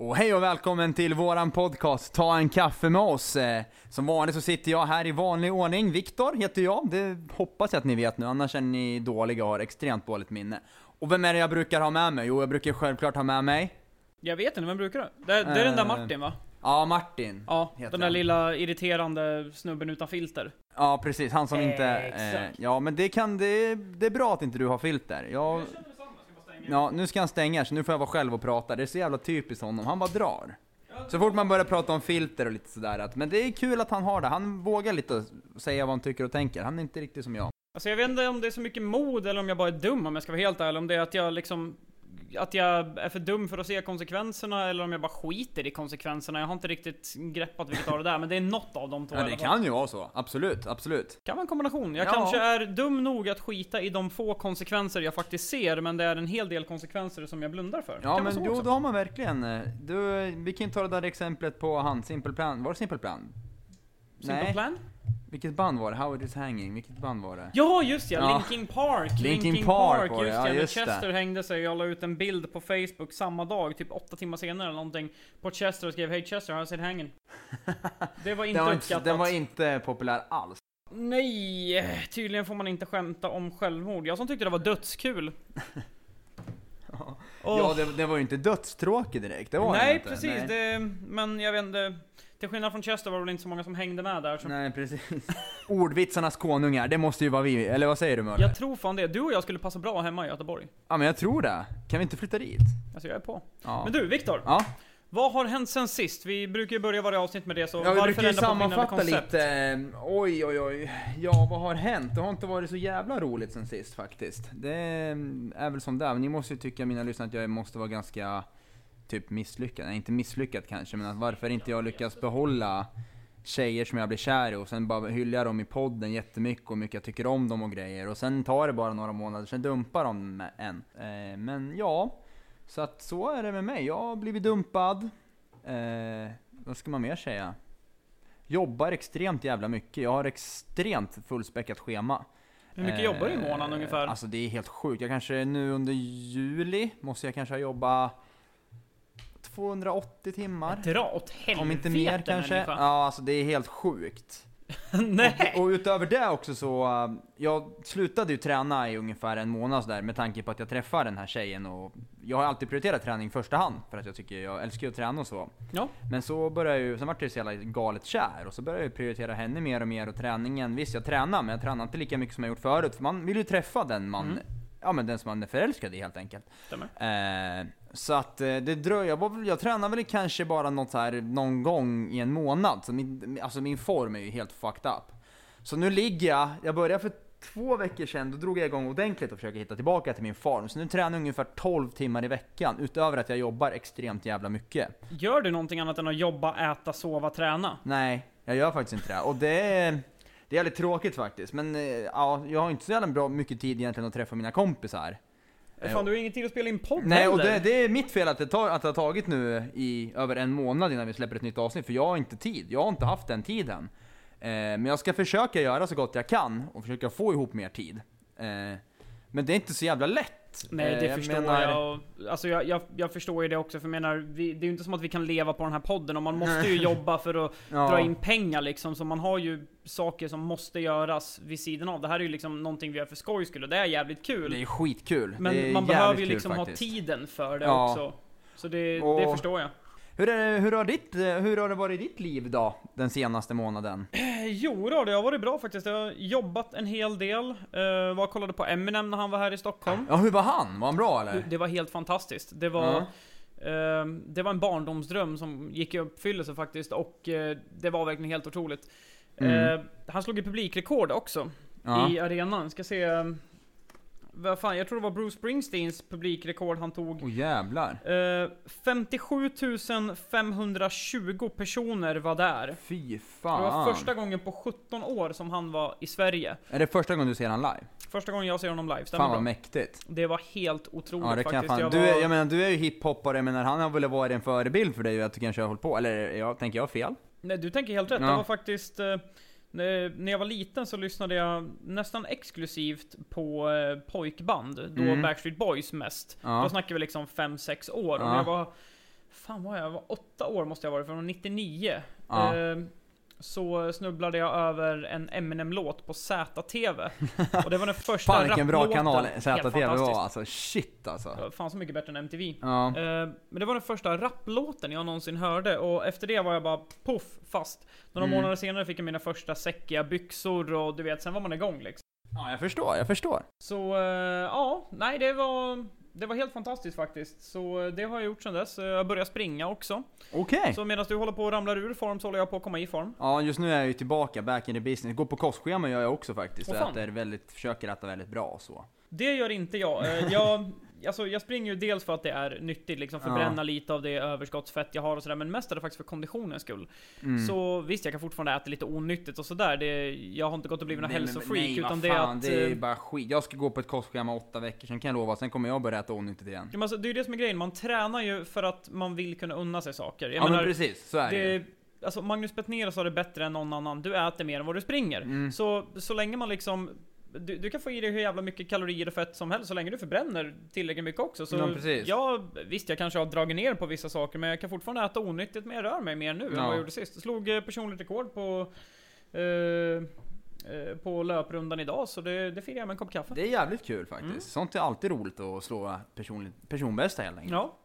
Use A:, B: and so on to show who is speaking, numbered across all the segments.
A: Och hej och välkommen till våran podcast Ta en kaffe med oss. Eh, Som vanligt så sitter jag här i vanlig ordning. Viktor heter jag, det hoppas jag att ni vet nu, annars är ni dåliga och har extremt dåligt minne. Och vem är det jag brukar ha med mig? Jo, jag brukar självklart ha med mig...
B: Jag vet inte, vem brukar du? Det, det är den där
A: Eh,
B: Martin va?
A: Ja, Martin.
B: Ja,
A: heter
B: den där
A: han.
B: lilla irriterande snubben utan filter.
A: Ja, precis. Han som inte... Eh,
B: Exakt.
A: ja, men det kan... Det, det är bra att inte du har filter. Jag... Ja, nu ska han stänga så nu får jag vara själv och prata. Det är så jävla typiskt honom. Han bara drar. Så fort man börjar prata om filter och lite sådär att, men det är kul att han har det. Han vågar lite och säga vad han tycker och tänker. Han är inte riktigt som jag.
B: Alltså jag vet inte om det är så mycket mod eller om jag bara är dum om jag ska vara helt ärlig. Om det är att jag liksom... Att jag är för dum för att se konsekvenserna eller om jag bara skiter i konsekvenserna. Jag har inte riktigt greppat vilket av det där men det är något av de två i
A: Ja,
B: alla
A: det
B: fall.
A: kan ju vara så. Absolut, absolut.
B: kan vara en kombination. Jag
A: Ja.
B: kanske är dum nog att skita i de få konsekvenser jag faktiskt ser men det är en hel del konsekvenser som jag blundar för.
A: Ja,
B: kan vara
A: men
B: så
A: jo,
B: också.
A: då har man verkligen... eh, Du, vi kan ju ta det där exemplet på han, Simple Plan. Var det Simple Plan?
B: Simple
A: Nej.
B: plan?
A: Vilket band var det? How it is hanging? Vilket band var det?
B: Ja just ja,
A: Ja.
B: Linkin Park!
A: Linkin Park var det,
B: just
A: ja,
B: ja,
A: just
B: när
A: det.
B: Chester hängde sig. Jag la ut en bild på Facebook samma dag, typ åtta timmar senare eller någonting. På Chester och skrev Hej Chester, har jag sett hängen? Det var inte
A: Den var, inte,
B: uppskattat.
A: den var inte populär alls.
B: Nej! Tydligen får man inte skämta om självmord. Jag som tyckte det var dödskul. Åh.
A: Ja, det, det var ju inte dödstråkig direkt, det var
B: nej
A: det inte.
B: precis, Det, men jag vet inte. Till skillnad från Chester var det väl inte så många som hängde med där. Så
A: Nej, precis. Ordvitsarnas konungar, det måste ju vara vi, eller vad säger du Mölle?
B: jag tror fan det. Du och jag skulle passa bra hemma i Göteborg.
A: Ja men jag tror det. Kan vi inte flytta dit?
B: Alltså jag är på.
A: Ja.
B: Men du, Viktor.
A: Ja,
B: Vad har hänt sen sist? Vi brukar ju börja varje avsnitt med det, så
A: ja vi
B: varför
A: brukar ju
B: ändra på vinnande
A: sammanfatta
B: koncept?
A: lite. eh, Oj, oj, oj. Ja, vad har hänt? Det har inte varit så jävla roligt sen sist faktiskt. Det eh, är väl som det är. Ni måste ju tycka, mina lyssnare, att jag måste vara ganska typ misslyckad. Nej, inte misslyckad kanske, men att varför inte jag lyckas behålla tjejer som jag blir kär i och sen bara hylla dem i podden jättemycket och hur mycket jag tycker om dem och grejer. Och sen tar det bara några månader, sen dumpar de en. Eh, Men ja, så att så är det med mig. Jag har blivit dumpad. Eh, vad ska man mer säga? Jobbar extremt jävla mycket. Jag har extremt fullspäckat schema.
B: Hur mycket
A: Eh,
B: jobbar du i månaden ungefär?
A: Alltså det är helt sjukt. Jag kanske nu under juli måste jag kanske jobba 280 timmar.
B: Dra åt helvete
A: Om inte mer kanske.
B: människa.
A: Ja, alltså det är helt sjukt.
B: Nej!
A: Och utöver det också så, eh, jag slutade ju träna i ungefär en månad där med tanke på att jag träffar den här tjejen och jag har alltid prioriterat träning i första hand för att jag tycker, jag älskar ju att träna och så.
B: Ja.
A: Men så började jag ju, sen vart jag så jävla galet kär och så började jag ju prioritera henne mer och mer och träningen, visst jag tränar men jag tränar inte lika mycket som jag gjort förut för man vill ju träffa den man,
B: Mm.
A: ja men den som man är förälskad i helt enkelt.
B: Stämmer.
A: Eh, så att eh, det dröjer, jag, var, väl- jag tränar väl kanske bara något så här någon gång i en månad. Så min, alltså min form är ju helt fucked up. Så nu ligger jag, jag började för två veckor sedan, då drog jag igång ordentligt och försöker hitta tillbaka till min form. Så nu tränar jag ungefär 12 timmar i veckan, utöver att jag jobbar extremt jävla mycket.
B: Gör du någonting annat än att jobba, äta, sova, träna?
A: Nej, jag gör faktiskt inte det. Och det är, det är jävligt tråkigt faktiskt. Men eh, ja, jag har inte så jävla bra mycket tid egentligen att träffa mina kompisar. Eh,
B: Fan, du har ingen tid att spela in podd
A: Nej,
B: heller.
A: och det, det är mitt fel att det, tar, att det har tagit nu i över en månad innan vi släpper ett nytt avsnitt, för jag har inte tid. Jag har inte haft den tiden. Eh, men jag ska försöka göra så gott jag kan och försöka få ihop mer tid. Eh, men det är inte så jävla lätt.
B: Nej,
A: Eh,
B: det förstår jag. Och, Alltså jag, jag, jag förstår ju det också, för jag menar, vi, det är ju inte som att vi kan leva på den här podden och man måste ju jobba för att
A: Ja.
B: dra in pengar liksom. Så man har ju saker som måste göras vid sidan av. Det här är ju liksom någonting vi gör för skojs skull och det är jävligt kul.
A: Det är skitkul. det är
B: Men man
A: jävligt
B: behöver ju
A: kul
B: liksom
A: faktiskt.
B: ha tiden för det
A: Ja.
B: också. Så det, det
A: Och-
B: förstår jag.
A: Hur, är, det- hur, har ditt, eh, hur har det varit i ditt liv då, den senaste månaden?
B: Eh, Jo då, det har varit bra faktiskt. Jag har jobbat en hel del. Eh, var och kollade på Eminem när han var här i Stockholm.
A: Ja, hur var han? Var han bra eller?
B: Du, Det var helt fantastiskt. Det var, ehm, det var en barndomsdröm som gick i uppfyllelse faktiskt och eh, det var verkligen helt otroligt.
A: Mm.
B: Eh, han slog ju publikrekord också
A: Ja.
B: i arenan. Ska se... ehm, Vad fan, jag tror det var Bruce Springsteens publikrekord han tog.
A: Åh jävlar.
B: Eh, 57 520 personer var där.
A: Fy
B: Det
A: fan.
B: var första gången på 17 år som han var i Sverige.
A: Är det första gången du ser han live?
B: Första gången jag ser honom live, stämmer
A: Fan vad
B: bra.
A: mäktigt.
B: Det var helt otroligt
A: Ja det kan jag
B: faktiskt.
A: fan.
B: jag
A: du, är,
B: var-
A: jag menar, du är ju hiphoppare, men han har väl varit en förebild för dig och att du kanske har hållit på, eller jag, tänker jag fel?
B: Nej, du tänker helt rätt.
A: Ja.
B: Det var faktiskt... Eh, när när jag var liten så lyssnade jag nästan exklusivt på eh, pojkband. Då
A: Mm.
B: Backstreet Boys mest.
A: Ja.
B: Då snackar vi liksom 5-6 år.
A: Ja.
B: Om jag var fan var jag? jag var åtta år måste jag ha varit, för det var 99.
A: Ja.
B: Eh, så snubblade jag över en Eminem-låt på ZTV. Och det var den första
A: Fan vilken bra
B: rapplåten.
A: kanal
B: Helt
A: ZTV var
B: fantastiskt.
A: alltså. Shit
B: Det
A: alltså.
B: var Fan så mycket bättre än MTV.
A: Ja.
B: Eh, Men det var den första rapplåten jag någonsin hörde och efter det var jag bara poff fast. Några
A: Mm.
B: månader senare fick jag mina första säckiga byxor och du vet, sen var man igång liksom.
A: ja, jag förstår, jag förstår.
B: Så eh, ja, nej det var, det var helt fantastiskt faktiskt. Så eh, det har jag gjort sedan dess. Eh, Jag börjar springa också.
A: Okej.
B: Så medan du håller på och ramlar ur form så håller jag på att komma i form.
A: Ja, just nu är jag ju tillbaka, back in the business. Går på kostschema gör jag också faktiskt.
B: Åh,
A: Och
B: fan.
A: äter väldigt, försöker äta väldigt bra och så.
B: Det gör inte jag. Eh, jag Alltså jag springer ju dels för att det är nyttigt, liksom förbränna
A: Ja.
B: lite av det överskottsfett jag har och sådär, men mest är det faktiskt för konditionens skull.
A: Mm.
B: Så visst, jag kan fortfarande äta lite onyttigt och sådär. Det, jag har inte gått och blivit någon
A: Nej, men-
B: hälsofreak.
A: nej,
B: utan
A: vad
B: det är
A: fan,
B: att...
A: det är
B: eh,
A: ju bara skit. Jag ska gå på ett kostschema åtta veckor, sen kan jag lova, sen kommer jag börja äta onyttigt igen.
B: ja, men alltså, det är ju det som är grejen. Man tränar ju för att man vill kunna unna sig saker. Jag
A: ja men
B: menar,
A: precis, så är det, ju.
B: det, alltså, Magnus Betnér sa det bättre än någon annan. Du äter mer än vad du springer.
A: Mm.
B: Så, så länge man liksom... Du, du kan få i dig hur jävla mycket kalorier och fett som helst så länge du förbränner tillräckligt mycket också. Så
A: Ja, precis.
B: ja, visst, jag kanske har dragit ner på vissa saker men jag kan fortfarande äta onyttigt men jag rör mig mer nu än
A: Ja.
B: vad jag gjorde sist. Jag slog eh, personligt rekord på, eh, eh, på löprundan idag så det, det firar jag med en kopp kaffe.
A: Det är jävligt kul faktiskt.
B: Mm.
A: Sånt är alltid roligt att slå personligt, personbästa helt enkelt.
B: Ja,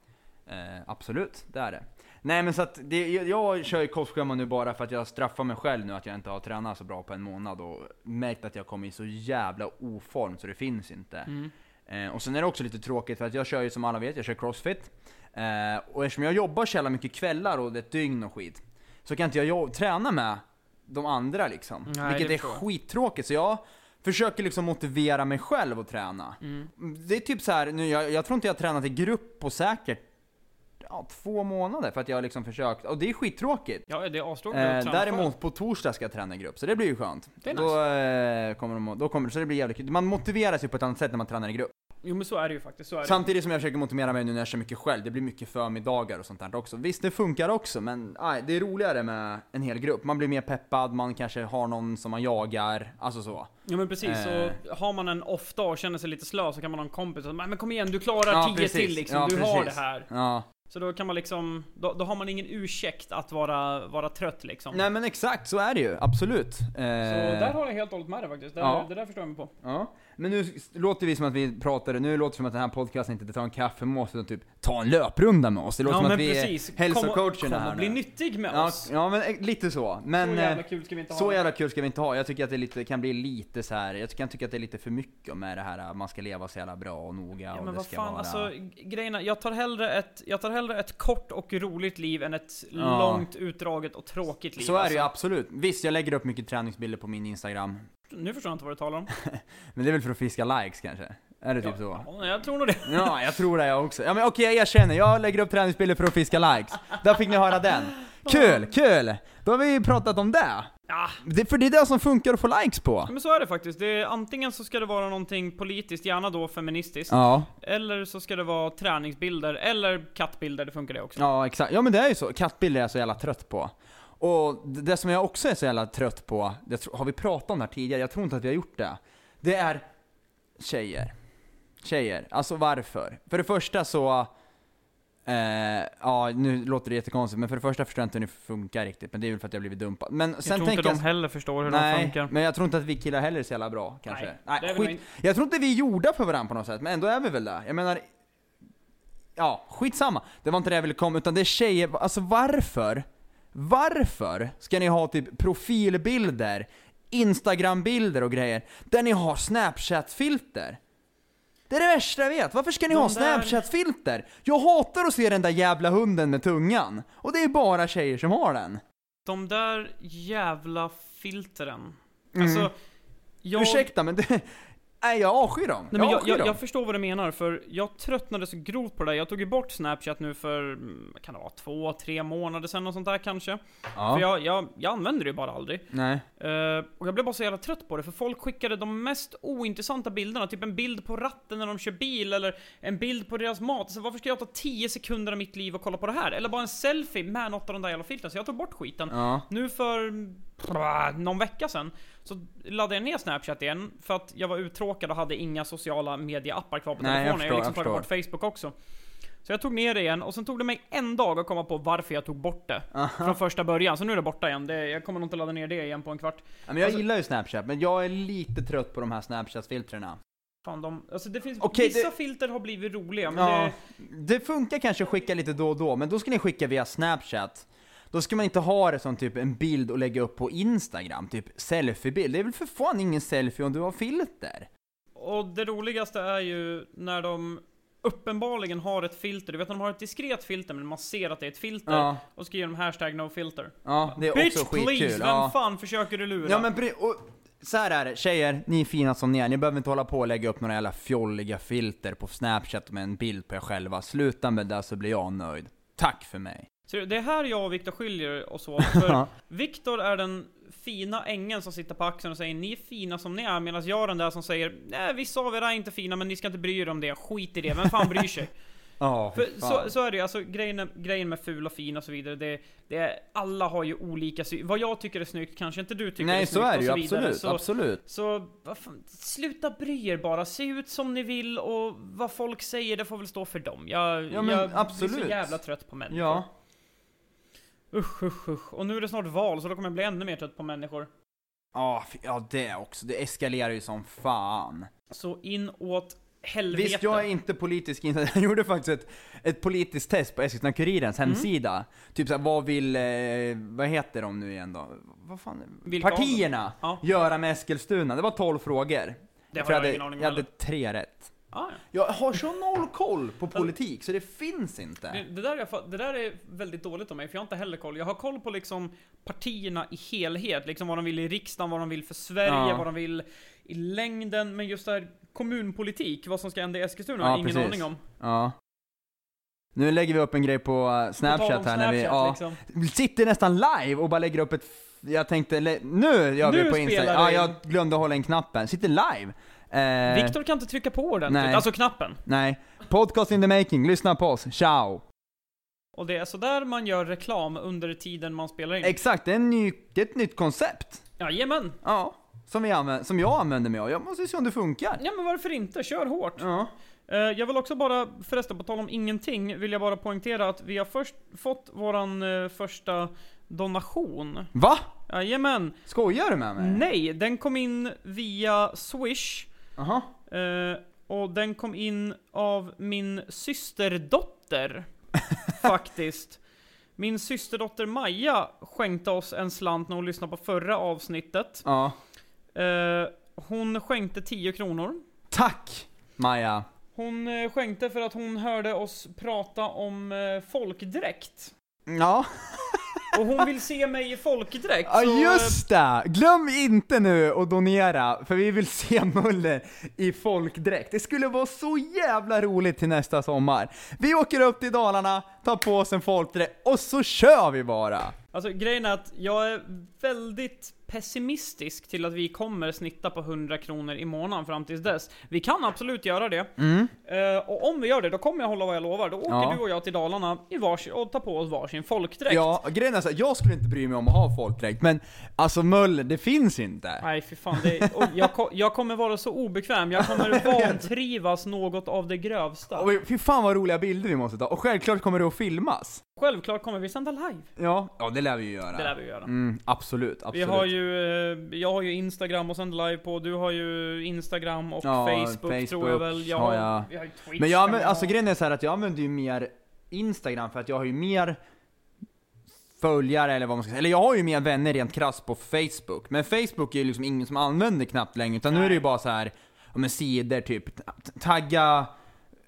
A: Eh, absolut, det är det. Nej men så att, det, jag, jag kör ju kostschema nu bara för att jag straffar mig själv nu att jag inte har tränat så bra på en månad och märkt att jag kommer i så jävla oform så det finns inte.
B: Mm.
A: Eh, och sen är det också lite tråkigt för att jag kör ju som alla vet, jag kör crossfit. Eh, och eftersom jag jobbar så jävla mycket kvällar och det är ett dygn och skit, så kan inte jag jo- träna med de andra liksom.
B: Nej,
A: Vilket
B: det
A: är
B: förstår jag.
A: skittråkigt, så jag försöker liksom motivera mig själv att träna. Det är typ så här, nu, jag, jag tror inte jag har tränat i grupp på säkert ja, två månader för att jag har liksom försökt, och det är skittråkigt.
B: ja det är astråkigt
A: Eh,
B: att träna själv.
A: däremot på torsdag ska jag träna i grupp, så det blir ju skönt.
B: Det är
A: då, eh, kommer de, då kommer, så det blir jävligt kul. Man motiveras ju på ett annat sätt när man tränar i grupp.
B: Jo men så är det ju faktiskt. Så är det.
A: Samtidigt som jag försöker motivera mig nu när jag kör mycket själv, det blir mycket förmiddagar och sånt där också. Visst, det funkar också, men aj, det är roligare med en hel grupp. Man blir mer peppad, man kanske har någon som man jagar, alltså så.
B: Ja men precis,
A: Eh.
B: så har man en ofta och känner sig lite slö så kan man ha en kompis som "Nej, men kom igen du klarar
A: Ja,
B: 10
A: precis.
B: till liksom,
A: Ja,
B: du har det
A: precis.
B: här.
A: Ja.
B: Så då kan man liksom, då, då har man ingen ursäkt att vara, vara trött liksom.
A: Nej men exakt, så är det ju. Absolut. Eh,
B: Så där har jag helt och hållet med dig faktiskt, där,
A: Ja.
B: det där förstår jag mig på.
A: ja. Men nu s- låter vi som att vi pratade, nu låter det som att den här podcasten inte tar en kaffemås utan typ ta en löprunda med oss. Det låter som att vi är
B: kom,
A: hälsocoacherna
B: och- kom
A: här
B: och bli
A: nu.
B: nyttig med
A: Ja,
B: oss.
A: ja men eh, lite så. Men,
B: så
A: eh,
B: jävla kul ska vi inte ha.
A: Så
B: det.
A: jävla kul ska vi inte ha. Jag tycker att det är lite, kan bli lite så här. jag kan tycka att det är lite för mycket med det här att man ska leva så jävla bra och noga
B: Ja,
A: och
B: men
A: det
B: vad
A: ska
B: fan,
A: vara...
B: alltså g- grejerna, jag tar, hellre ett, jag tar hellre ett kort och roligt liv än ett
A: Ja.
B: långt, utdraget och tråkigt liv.
A: så är det ju
B: alltså.
A: absolut. Visst, jag lägger upp mycket träningsbilder på min Instagram.
B: Nu förstår jag inte vad du talar om.
A: Men det är väl för att fiska likes kanske? Är det typ så?
B: Ja, jag tror nog det.
A: Ja, jag tror det jag också. Ja men okej, jag erkänner. Jag lägger upp träningsbilder för att fiska likes. Där fick ni höra den. Kul, kul! Då har vi ju pratat om det.
B: Ja,
A: det. För det är det som funkar att få likes på.
B: men så är det faktiskt. Det är, antingen så ska det vara någonting politiskt, gärna då feministiskt.
A: Ja.
B: Eller så ska det vara träningsbilder, eller kattbilder, det funkar det också.
A: Ja, exakt. Ja men det är ju så. Kattbilder är jag så jävla trött på. Och det det som jag också är så jävla trött på, det tro, har vi pratat om det här tidigare? Jag tror inte att vi har gjort det. Det är tjejer. Tjejer. Alltså varför? För det första så... Eh, ja, nu låter det jättekonstigt, men för det första förstår jag inte hur det funkar riktigt. Men det är väl för att jag blivit dumpad. Men
B: Jag
A: sen
B: tror
A: tänker
B: inte de
A: jag...
B: heller förstår hur
A: nej,
B: de funkar.
A: men jag tror inte att vi killar heller är så jävla bra kanske.
B: Nej, det är
A: nej
B: väl nog
A: skit,
B: inte-
A: jag tror inte vi är gjorda för varandra på något sätt, men ändå är vi väl det. Jag menar, ja, skitsamma. Det var inte det jag ville komma, utan det är tjejer, alltså varför? Varför ska ni ha typ profilbilder, instagrambilder och grejer, där ni har snapchat-filter? Det är det värsta jag vet, varför ska ni
B: De
A: ha
B: där-
A: snapchat-filter? Jag hatar att se den där jävla hunden med tungan, och det är bara tjejer som har den.
B: De där jävla filtren.
A: Mm.
B: Alltså, jag...
A: Ursäkta men det... Nej jag avskyr dem.
B: Nej, men
A: jag
B: jag,
A: avskyr
B: jag,
A: dem.
B: jag förstår vad du menar, för jag tröttnade så grovt på det där. Jag tog ju bort Snapchat nu för, mm, kan det vara, två, tre månader sedan och sånt där kanske.
A: ja.
B: För jag, jag, jag använder det ju bara aldrig.
A: Nej.
B: Eh, och jag blev bara så jävla trött på det, för folk skickade de mest ointressanta bilderna. Typ en bild på ratten när de kör bil, eller en bild på deras mat. Så varför ska jag ta 10 sekunder av mitt liv och kolla på det här? Eller bara en selfie med något av de där jävla filtren. Så jag tog bort skiten.
A: Ja.
B: Nu för pff, någon vecka sedan så laddade jag ner Snapchat igen för att jag var uttråkad och hade inga sociala medieappar kvar på
A: Nej, jag
B: telefonen. Jag har
A: förstår,
B: liksom
A: jag
B: tagit bort Facebook också. Så jag tog ner det igen och sen tog det mig en dag att komma på varför jag tog bort det. Från första början, så nu är det borta igen. Det, jag kommer nog inte ladda ner det igen på en kvart.
A: Ja, men jag
B: Alltså-
A: gillar ju Snapchat, men jag är lite trött på de här Snapchat-filtrerna.
B: Fan, de, alltså det finns,
A: Okej,
B: vissa
A: det-
B: filter har blivit roliga, men
A: Ja,
B: det,
A: det funkar kanske att skicka lite då och då, men då ska ni skicka via Snapchat. Då ska man inte ha det som typ en bild och lägga upp på Instagram, typ selfiebild. Det är väl för fan ingen selfie om du har filter?
B: och det roligaste är ju när de uppenbarligen har ett filter. Du vet när de har ett diskret filter, men man ser att det är ett filter.
A: Ja,
B: Och skriver de hashtag no filter.
A: ja det är
B: Bitch
A: också skitkul.
B: please, vem
A: ja.
B: fan försöker du lura?
A: Ja men pre- och så här är det, tjejer, ni är fina som ni är, ni behöver inte hålla på och lägga upp några jävla fjolliga filter på snapchat med en bild på er själva. Sluta med det så blir jag nöjd. Tack för mig.
B: Så det är här jag och Viktor skiljer oss åt. För Viktor är den fina ängeln som sitter på axeln och säger ni är fina som ni är, medan jag är den där som säger nej vissa av er är inte fina men ni ska inte bry er om det, skit i det, vem fan bryr sig?
A: Ja,
B: För
A: fy fan.
B: så, så är det ju, alltså grejen, grejen med ful och fin och så vidare, det, det är, alla har ju olika sy- Vad jag tycker är snyggt kanske inte du tycker är
A: Nej så
B: snyggt
A: är det
B: och
A: ju
B: så vidare.
A: absolut,
B: så,
A: absolut.
B: så vad fan, sluta bry er bara, se ut som ni vill och vad folk säger det får väl stå för dem. Jag,
A: Ja, men
B: jag blir
A: absolut.
B: så jävla trött på människor.
A: Ja.
B: Usch, usch, usch. Och nu är det snart val så då kommer jag bli ännu mer trött på människor.
A: Ja, fy- ja det också. Det eskalerar ju som fan.
B: Så in åt helvete.
A: Visst, jag är inte politisk insatt. Jag gjorde faktiskt ett, ett politiskt test på Eskilstuna-Kurirens
B: Mm.
A: hemsida. Typ såhär, vad vill, eh, vad heter de nu igen då? Vad fan?
B: Vilka av dem?
A: Partierna!
B: Ja.
A: Göra med Eskilstuna. Det var 12 frågor.
B: Det
A: tror
B: har jag
A: hade,
B: ingen aning om
A: Jag hade
B: heller.
A: tre rätt.
B: Ah,
A: Jag har så noll koll på politik så det finns
B: ja. det,
A: inte.
B: det, där jag, fa- det där är väldigt dåligt om mig, för jag har inte heller koll. Jag har koll på liksom partierna i helhet, liksom vad de vill i riksdagen, vad de vill för Sverige,
A: Ja.
B: vad de vill i längden. Men just det här kommunpolitik, vad som ska hända i
A: Ja,
B: Eskilstuna, har jag ingen
A: precis.
B: aning om. På
A: Ja. Nu lägger vi upp en grej på eh,
B: tal om
A: Snapchat här när vi...
B: Snapchat,
A: ja.
B: liksom.
A: sitter nästan live och bara lägger upp ett... Jag tänkte, le- nu gör vi
B: Nu
A: på Instagram.
B: spelar
A: Ja, jag
B: det
A: glömde hålla in knappen. Sitter live. Eh,
B: Viktor kan inte trycka på ordentligt,
A: nej.
B: alltså knappen.
A: Nej. Podcast in the making, lyssna på oss. Ciao.
B: Och det är sådär man gör reklam under tiden man spelar in.
A: Exakt, det är, en ny, det är ett nytt koncept.
B: Jajamän!
A: Ja. Som, vi använder, som jag använder mig av. Jag måste se om det funkar.
B: Ja men varför inte? Kör hårt!
A: Ja.
B: Eh, Jag vill också bara, förresten på tal om ingenting, vill jag bara poängtera att vi har först fått våran eh, första donation.
A: Va?
B: Jajamän!
A: Skojar du med mig?
B: Nej, den kom in via Swish.
A: Aha.
B: eh, Och den kom in av min systerdotter, faktiskt. Min systerdotter Maja skänkte oss en slant när hon lyssnade på förra avsnittet.
A: Ja.
B: Eh, Hon skänkte 10 kronor.
A: Tack, Maja.
B: Hon eh, skänkte för att hon hörde oss prata om eh, folkdräkt.
A: Ja,
B: Och hon vill se mig i folkdräkt.
A: ja
B: så, eh,
A: just det! Glöm inte nu att donera, för vi vill se Muller i folkdräkt. Det skulle vara så jävla roligt till nästa sommar. Vi åker upp till Dalarna, tar på oss en folkdräkt och så kör vi bara!
B: Alltså grejen är att jag är väldigt pessimistisk till att vi kommer snitta på 100 kronor i månaden fram tills dess. Vi kan absolut göra det. Eh, och om vi gör det, då kommer jag hålla vad jag lovar. Då åker
A: Mm. Ja.
B: du och jag till Dalarna i varsin, och tar på oss varsin folkdräkt.
A: Ja, grejen är så här, jag skulle inte bry mig om att ha folkdräkt, men alltså Muller, det finns inte.
B: Nej fy fan, det är, och jag, ko- jag kommer vara så obekväm. Jag kommer vantrivas något av det grövsta.
A: Och vi- Fy fan vad roliga bilder vi måste ta, och självklart kommer det att filmas.
B: Självklart kommer vi sända live.
A: Ja, ja det lär vi ju göra.
B: Det lär vi göra.
A: Mm, absolut, absolut.
B: Vi har ju, eh, jag har ju Instagram och sänder live på, du har ju Instagram och
A: Ja,
B: Facebook, tror jag
A: Facebook
B: väl. Jag,
A: har jag.
B: Vi har ju Twitch.
A: Men jag
B: kan vi
A: använder,
B: ha.
A: alltså grejen är så här att jag använder ju mer Instagram för att jag har ju mer följare eller vad man ska säga. Eller jag har ju mer vänner rent krasst på Facebook. Men Facebook är ju liksom ingen som använder knappt längre. Utan nu är det ju bara så här, ja men sidor typ. T- Tagga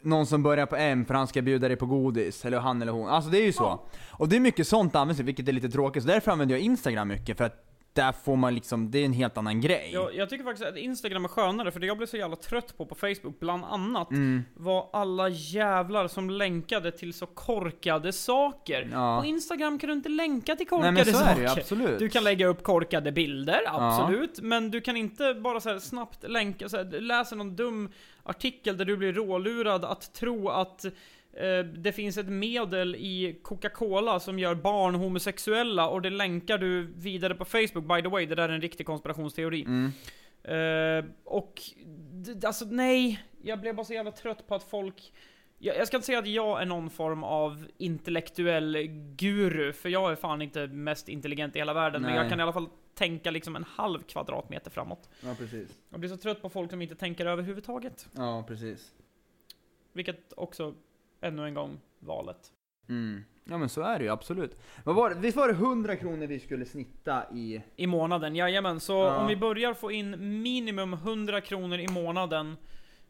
A: någon som börjar på M för han ska bjuda dig på godis. Eller han eller hon. Alltså det är ju så. Och det är mycket sånt används ju, vilket är lite tråkigt. Så därför använder jag Instagram mycket. För att där får man liksom, det är en helt annan grej.
B: jag, jag tycker faktiskt att Instagram är skönare, för det jag blev så jävla trött på på Facebook, bland annat,
A: Mm.
B: var alla jävlar som länkade till så korkade saker.
A: Ja.
B: På Instagram kan du inte länka till korkade
A: Nej men så är det
B: saker.
A: ju, absolut.
B: Du kan lägga upp korkade bilder, absolut. Men du kan inte bara så här snabbt länka, så här, du läser någon dum artikel där du blir rålurad att tro att eh, det finns ett medel i Coca-Cola som gör barn homosexuella och det länkar du vidare på Facebook. By the way, det där är en riktig konspirationsteori.
A: Mm.
B: Eh, och d- alltså nej, jag blev bara så jävla trött på att folk Jag, jag ska inte säga att jag är någon form av intellektuell guru, för jag är fan inte mest intelligent i hela världen. Men jag
A: Nej.
B: kan i alla fall tänka liksom en halv kvadratmeter framåt.
A: Ja, precis.
B: Jag blir så trött på folk som inte tänker överhuvudtaget.
A: Ja, precis.
B: Vilket också, ännu en gång, valet.
A: Mm. Ja men så är det ju absolut. Vad var det? Visst var det 100 kronor vi skulle snitta i...
B: I månaden, jajamän. Så
A: Ja.
B: om vi börjar få in minimum 100 kronor i månaden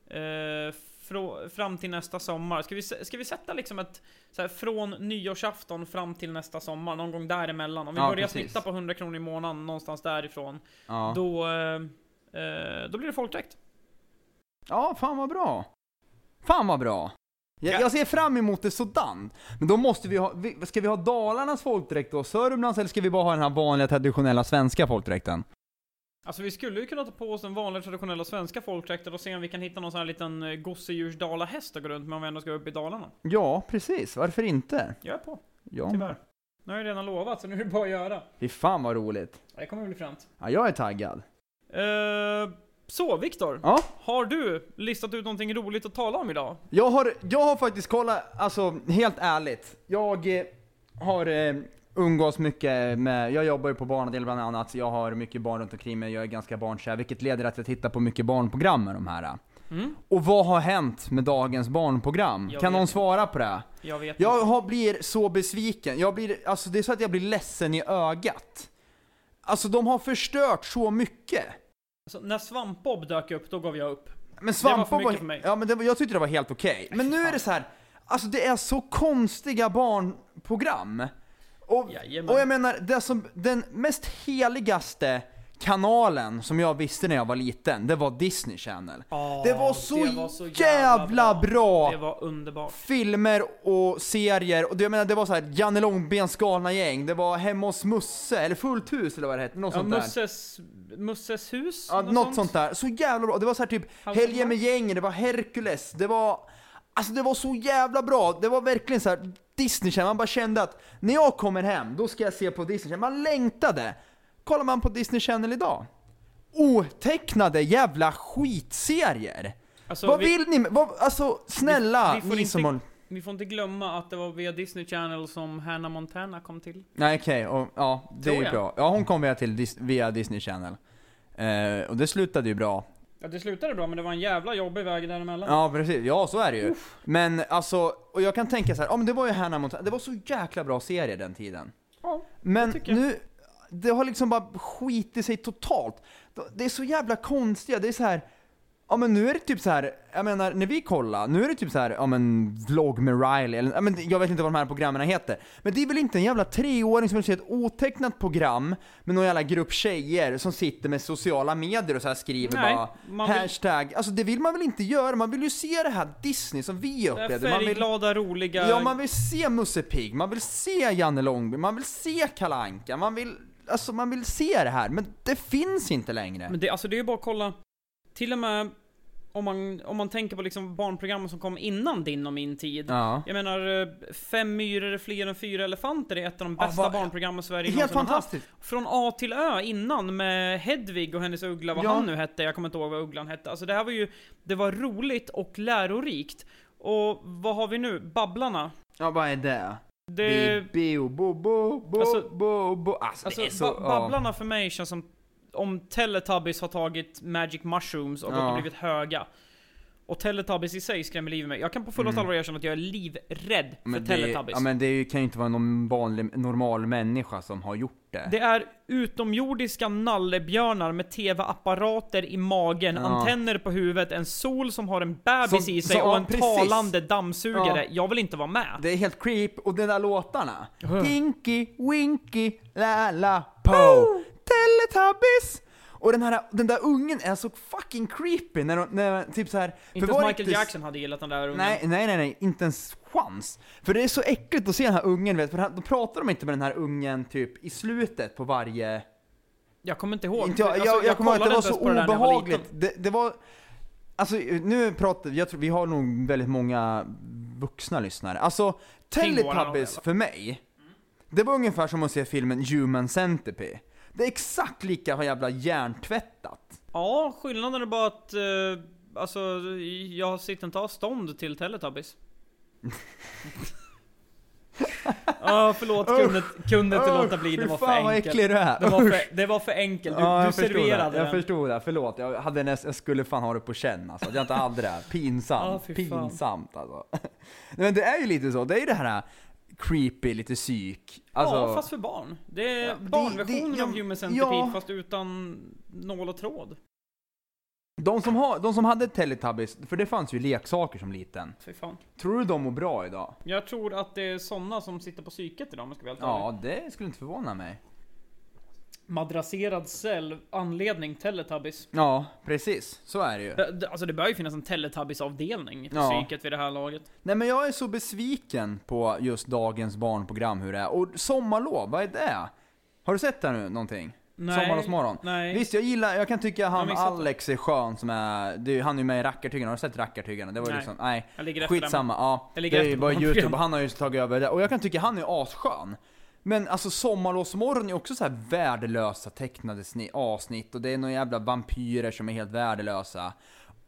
B: eh, frå- fram till nästa sommar. Ska vi, s- ska vi sätta liksom ett så här, från nyårsafton fram till nästa sommar, någon gång däremellan. Om vi
A: Ja,
B: börjar
A: precis.
B: snitta på 100 kronor i månaden någonstans därifrån,
A: Ja.
B: då, eh, eh, då blir det folkdräkt.
A: Ja, fan vad bra. Fan vad bra. Jag,
B: Ja.
A: jag ser fram emot det sådant. Men då måste vi ha... vi- Ska vi ha Dalarnas folkdräkt då? Sörmlands? Eller ska vi bara ha den här vanliga traditionella svenska folkdräkten?
B: Alltså vi skulle ju kunna ta på oss den vanliga traditionella svenska folkdräkten och se om vi kan hitta någon sån här liten eh, gosedjursdalahäst att gå runt med om vi ändå ska upp i Dalarna.
A: Ja, precis. Varför inte?
B: Jag är på,
A: Ja.
B: tyvärr. Nu har jag redan lovat, så nu är det bara att göra.
A: Fy fan vad roligt.
B: Det kommer bli fränt.
A: Ja, jag är taggad.
B: Eh, så Viktor,
A: Ja.
B: har du listat ut någonting roligt att tala om idag?
A: Jag har, jag har faktiskt kollat, alltså helt ärligt. Jag eh, har eh, umgås mycket med, jag jobbar ju på barnavdelningen bland annat, så jag har mycket barn runt omkring mig, jag är ganska barnkär, vilket leder till att jag tittar på mycket barnprogram med de här. eh.
B: Mm.
A: Och vad har hänt med dagens barnprogram?
B: Jag
A: kan
B: vet
A: någon
B: inte.
A: svara på det?
B: Jag vet
A: Jag
B: inte.
A: har, blir så besviken, jag blir, alltså det är så att jag blir ledsen i ögat. Alltså de har förstört så mycket.
B: Alltså, när Svampbob dök upp, då gav jag upp.
A: Men
B: Det var för
A: svampar
B: mycket
A: var,
B: för mig.
A: Ja men det var, jag tyckte det var helt okej. Men nu är det så här. alltså det är så konstiga barnprogram. Och,
B: Jajamän.
A: och jag menar, det som, den mest heligaste kanalen som jag visste när jag var liten, det var Disney Channel. det var så, jävla, bra.
B: Det var underbart.
A: Filmer och serier, och det, jag menar det var så här Janne Långbens galna gäng, det var Hemma hos Musse, eller Fullt hus eller vad det hette, något
B: Ja,
A: sånt där.
B: Musses, Musses hus?
A: Ja, något, sånt där. Så jävla bra. Det var så här typ
B: House of
A: Helgen med gängen, det var Hercules, det var... Alltså det var så jävla bra. Det var verkligen så här Disney Channel. Man bara kände att när jag kommer hem, då ska jag se på Disney Channel. Man längtade. Kollar man på Disney Channel idag? Otecknade jävla skitserier.
B: Alltså,
A: vad
B: vi-
A: vill ni med- vad, Alltså snälla,
B: vi får
A: ni
B: inte-
A: som håller...
B: Vi får inte glömma att det var via Disney Channel som Hannah Montana kom till.
A: Nej okej, och ja, det
B: Tror
A: är ju
B: jag.
A: bra. Ja, hon kom via, till, Dis- via Disney Channel. Eh, och det slutade ju bra.
B: Ja, det slutade bra, men det var en jävla jobbig väg däremellan.
A: Ja precis, ja så är det ju. Men alltså, och jag kan tänka så här, ja men det var ju Hannah Montana, det var så jäkla bra serie den tiden.
B: Ja,
A: Men
B: det tycker jag.
A: nu, det har liksom bara skitit sig totalt. Det är så jävla konstiga, det är så här, ja men nu är det typ så här, jag menar när vi kollar, nu är det typ så här, ja men vlogg med Riley, eller, ja, men jag vet inte vad de här programmen heter. Men det är väl inte en jävla treåring som vill se ett otecknat program med någon jävla grupp tjejer som sitter med sociala medier och så här skriver
B: Nej,
A: bara
B: man vill-
A: hashtag, alltså det vill man väl inte göra, man vill ju se det här Disney som vi
B: Det är
A: upplevde. Man vill...
B: färgglada, roliga...
A: Ja, man vill se Musse Pigg, man vill se Janne Långby, man vill se Kalanka, man vill... Alltså man vill se det här, men det finns inte längre.
B: Men det, alltså det är ju bara att kolla. Till och med om man, om man tänker på liksom barnprogrammen som kom innan din och min tid.
A: Ja.
B: Jag menar, eh, Fem myror är fler än fyra elefanter är ett av de
A: Ja,
B: bästa
A: vad-
B: barnprogrammen Sverige
A: Helt
B: någonsin har haft.
A: fantastiskt.
B: Från A till Ö innan med Hedvig och hennes uggla, vad
A: Ja.
B: han nu hette, jag kommer inte ihåg vad ugglan hette. Alltså det här var ju, det var roligt och lärorikt. Och vad har vi nu? Babblarna.
A: Ja, vad är det?
B: Det,
A: Bio, bo, bo, bo,
B: Alltså-
A: bo, bo. Alltså,
B: Alltså,
A: det är så...
B: ba- Babblarna för mig känns som om Teletubbies har tagit Magic Mushrooms och gått
A: Ja.
B: och blivit höga. Och Teletubbies i sig skrämmer livet ur mig. Jag kan på fullaste allvar erkänna att jag är livrädd
A: ja. Mm.
B: för
A: men det,
B: Teletubbies.
A: ja, men det är ju- kan ju inte vara någon vanlig, normal människa som har gjort det.
B: Det är utomjordiska nallebjörnar med TV-apparater i magen,
A: Ja.
B: antenner på huvudet, en sol som har en bebis
A: Som-
B: i sig
A: som-
B: och
A: ja,
B: en
A: precis.
B: talande dammsugare. Jag vill inte vara med.
A: Det är helt creep, och de där låtarna.
B: Huh.
A: Tinky, Winky, La La Po, Teletubbies! Och den, här, den där ungen är så fucking creepy när, de, när typ så här. för
B: inte
A: var det
B: ens Michael
A: inte-
B: Jackson hade gillat den där ungen.
A: Nej, nej, nej, nej, inte ens chans. För det är så äckligt att se den här ungen, vet, för han, då pratar de inte med den här ungen typ i slutet på varje...
B: Jag kommer inte ihåg.
A: Inte jag,
B: Alltså,
A: jag, jag kommer ihåg att det
B: kollade
A: var
B: inte
A: så
B: ens på det där när jag var liten.
A: obehagligt. Det, det var... Alltså nu pratar jag tror vi har nog väldigt många vuxna lyssnare. Alltså
B: Kring våran
A: Teletubbies
B: ålder.
A: för mig, det var ungefär som att se filmen Human Centipede. Det är exakt lika jävla hjärntvättat.
B: Ja, skillnaden är bara att eh, alltså, jag sitter inte av stånd till Teletubbies. Ja, förlåt. Kunde, kunde inte
A: Usch,
B: låta bli. Det
A: fy
B: var för
A: fan vad
B: enkelt.
A: äcklig du är.
B: Det var
A: Usch.
B: för, det var för enkelt. Du,
A: Ja,
B: du
A: jag förstod
B: serverade
A: det. Jag
B: den.
A: förstod det, förlåt. Jag, hade näst, jag skulle fan ha det på känn alltså, att jag inte hade det. här.
B: Ja,
A: Pinsamt.
B: fy fan.
A: Pinsamt alltså. Nej, men det är ju lite så, det är ju det här äh, creepy, lite psyk. Alltså,
B: ja, fast för barn. Det är
A: Ja, det-
B: barnversionen
A: det- ja,
B: av Human Centipede
A: ja.
B: fast utan nål och tråd.
A: de, som har, de som hade Teletubbies, för det fanns ju leksaker som liten.
B: Fy fan.
A: Tror du de mår bra idag?
B: Jag tror att det är såna som sitter på psyket idag om jag ska vara helt ärlig.
A: Ja, det skulle inte förvåna mig.
B: Madrasserad cell, anledning Teletubbies.
A: Ja, precis. Så är det ju.
B: Det- det- Alltså det bör ju finnas en Teletubbies-avdelning på
A: Ja.
B: psyket vid det här laget.
A: Nej men jag är så besviken på just dagens barnprogram hur det är. Och sommarlov, vad är det? Har du sett det nu någonting?
B: Nej.
A: Sommarlovsmorgon.
B: Nej.
A: Visst, jag gillar, jag kan tycka
B: Jag har
A: han
B: missat det.
A: Alex är skön som är, det, är- han är ju med i Rackartyggarna, har du sett Rackartyggarna? Det var ju
B: Nej.
A: liksom, nej.
B: Jag ligger efter den.
A: Skitsamma, ja.
B: Jag
A: Det
B: ligger
A: är
B: efter
A: ju
B: på
A: bara
B: de
A: youtube,
B: programmen.
A: han har ju tagit över det. Och jag kan tycka han är asskön. Men alltså sommarlovsmorgon är också så här värdelösa tecknade sni- avsnitt och det är några jävla vampyrer som är helt värdelösa.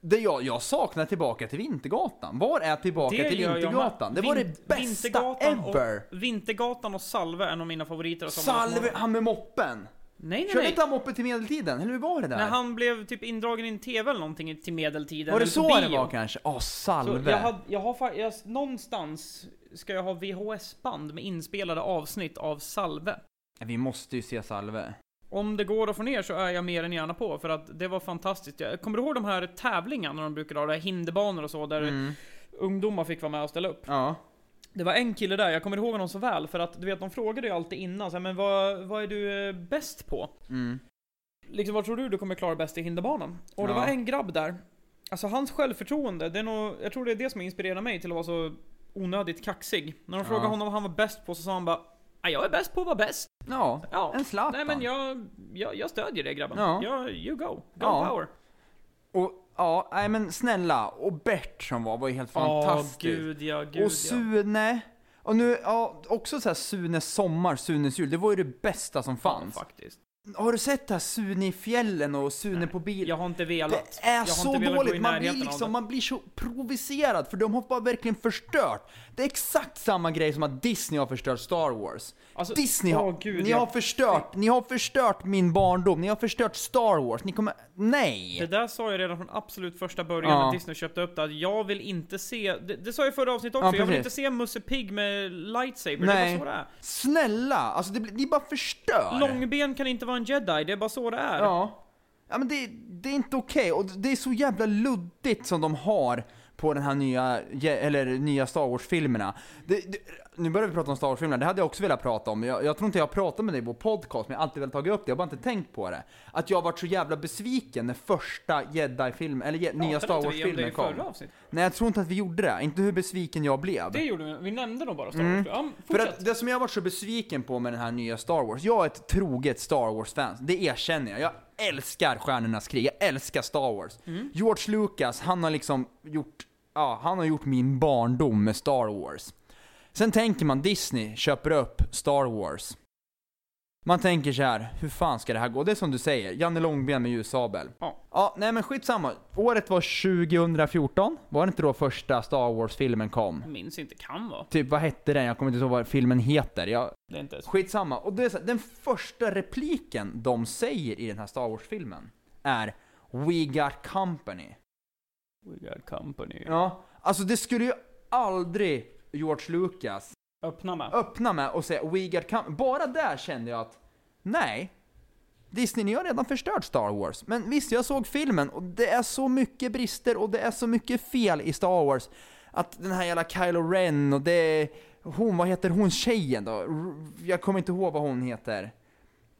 A: Det jag, jag saknar Tillbaka till Vintergatan. Var är Tillbaka
B: Det
A: till
B: gör jag
A: Vintergatan?
B: med.
A: Det var
B: Vint-
A: det bästa
B: Vintergatan och-
A: ever!
B: Vintergatan och Salve är en av mina favoriter av
A: Salve,
B: Sommarlovsmorgon.
A: han med moppen!
B: Nej, nej,
A: Körde
B: nej.
A: inte han moppen till medeltiden? Eller hur var det där?
B: När han blev typ indragen i en TV eller någonting till medeltiden.
A: var det
B: eller på
A: så det
B: bio.
A: var kanske? Åh,
B: Så
A: Salve!
B: jag, hade, jag har fa- jag, någonstans ska jag ha VHS-band med inspelade avsnitt av Salve.
A: Vi måste ju se Salve.
B: Om det går att få ner så är jag mer än gärna på, för att det var fantastiskt. Jag, kommer du ihåg de här tävlingarna de brukade ha, där hinderbanor och så, där
A: Mm.
B: ungdomar fick vara med och ställa upp?
A: Ja.
B: Det var en kille där, jag kommer ihåg honom så väl, för att du vet, de frågade ju alltid innan så här, men vad, vad är du eh, bäst på?
A: Mm.
B: Liksom vad tror du du kommer klara bäst i hinderbanan? Och det
A: Ja.
B: var en grabb där. Alltså hans självförtroende, det är nog, jag tror det är det som inspirerar mig till att vara så onödigt kaxig. När de
A: Ja.
B: frågade honom vad han var bäst på så sa han bara "Ja, jag är bäst på att vara bäst.
A: Ja,
B: Ja.
A: en Zlatan.
B: Nej men jag, jag, jag stödjer det grabben.
A: Ja.
B: Jag, you go. Go
A: Ja.
B: power.
A: Och ja, nej men snälla. Och Bert som var, var ju helt fantastisk.
B: Åh, gud ja, gud
A: och Sune. Och nu, ja, också så här Sunes sommar, Sunes jul. Det var ju det bästa som
B: ja.
A: fanns.
B: Ja, faktiskt.
A: har du sett det här Sune i fjällen och Sune på bil?
B: Jag har inte velat.
A: det är
B: jag har
A: så
B: inte velat gå i
A: dåligt, man blir,
B: närheten av
A: liksom,
B: det.
A: man blir så provocerad för de har bara verkligen förstört. Det är exakt samma grej som att Disney har förstört Star Wars.
B: Alltså,
A: Disney har,
B: åh, gud,
A: ni,
B: jag-
A: har förstört, ni har förstört min barndom, ni har förstört Star Wars, ni kommer... Nej!
B: Det där sa jag redan från absolut första början
A: Ja.
B: när Disney köpte upp det, att jag vill inte se... Det, det sa jag i förra avsnittet också,
A: Ja,
B: jag vill
A: precis.
B: inte se Musse Pigg med lightsaber, det är
A: Nej.
B: bara så det är.
A: Snälla! Alltså det, blir- ni bara förstör!
B: Långben kan inte vara en jedi, det är bara så det är.
A: Ja. Ja men det, det är inte okej och det är så jävla luddigt som de har på den här nya, ge- eller nya Star Wars-filmerna. Det, det, nu börjar vi prata om Star Wars-filmerna, det hade jag också velat prata om. Jag, jag tror inte jag har pratat med dig på podcast, men jag har alltid velat tagit upp det, jag har bara inte tänkt på det. Att jag har varit så jävla besviken när första Jedi-filmen, eller je, nya
B: Pratade
A: Star
B: inte vi om det
A: Wars-filmen
B: i
A: kom.
B: förra avsnittet?
A: Nej jag tror inte att vi gjorde det, inte hur besviken jag blev.
B: Det gjorde vi, vi nämnde nog bara Star Wars.
A: Mm.
B: Ja,
A: För
B: fortsätt.
A: att det som jag har varit så besviken på med den här nya Star Wars, jag är ett troget Star Wars-fan, det erkänner jag. Jag älskar Stjärnornas krig, jag älskar Star Wars. George Lucas, han har liksom gjort, ja, han har gjort min barndom med Star Wars. Sen tänker man Disney köper upp Star Wars. Man tänker så här, hur fan ska det här gå? Det är som du säger, Janne Långben med ljussabel.
B: Ja.
A: ja. Nej men skitsamma, året var 2014, var det inte då första Star Wars-filmen kom?
B: Jag minns inte, kan vara.
A: Typ vad hette den? Jag kommer inte ihåg vad filmen heter. Jag,
B: Det är inte ens...
A: skitsamma. Och det är så här, den första repliken de säger i den här Star Wars-filmen är We got company.
B: We got company.
A: Ja, alltså det skulle ju aldrig George Lucas
B: Öppna med.
A: öppna med och säga We got company. Bara där kände jag att nej. Disney, ni har redan förstört Star Wars. Men visst, jag såg filmen och det är så mycket brister och det är så mycket fel i Star Wars. Att den här jävla Kylo Ren och det... Hon, vad heter hon tjejen då? R- Jag kommer inte ihåg vad hon heter.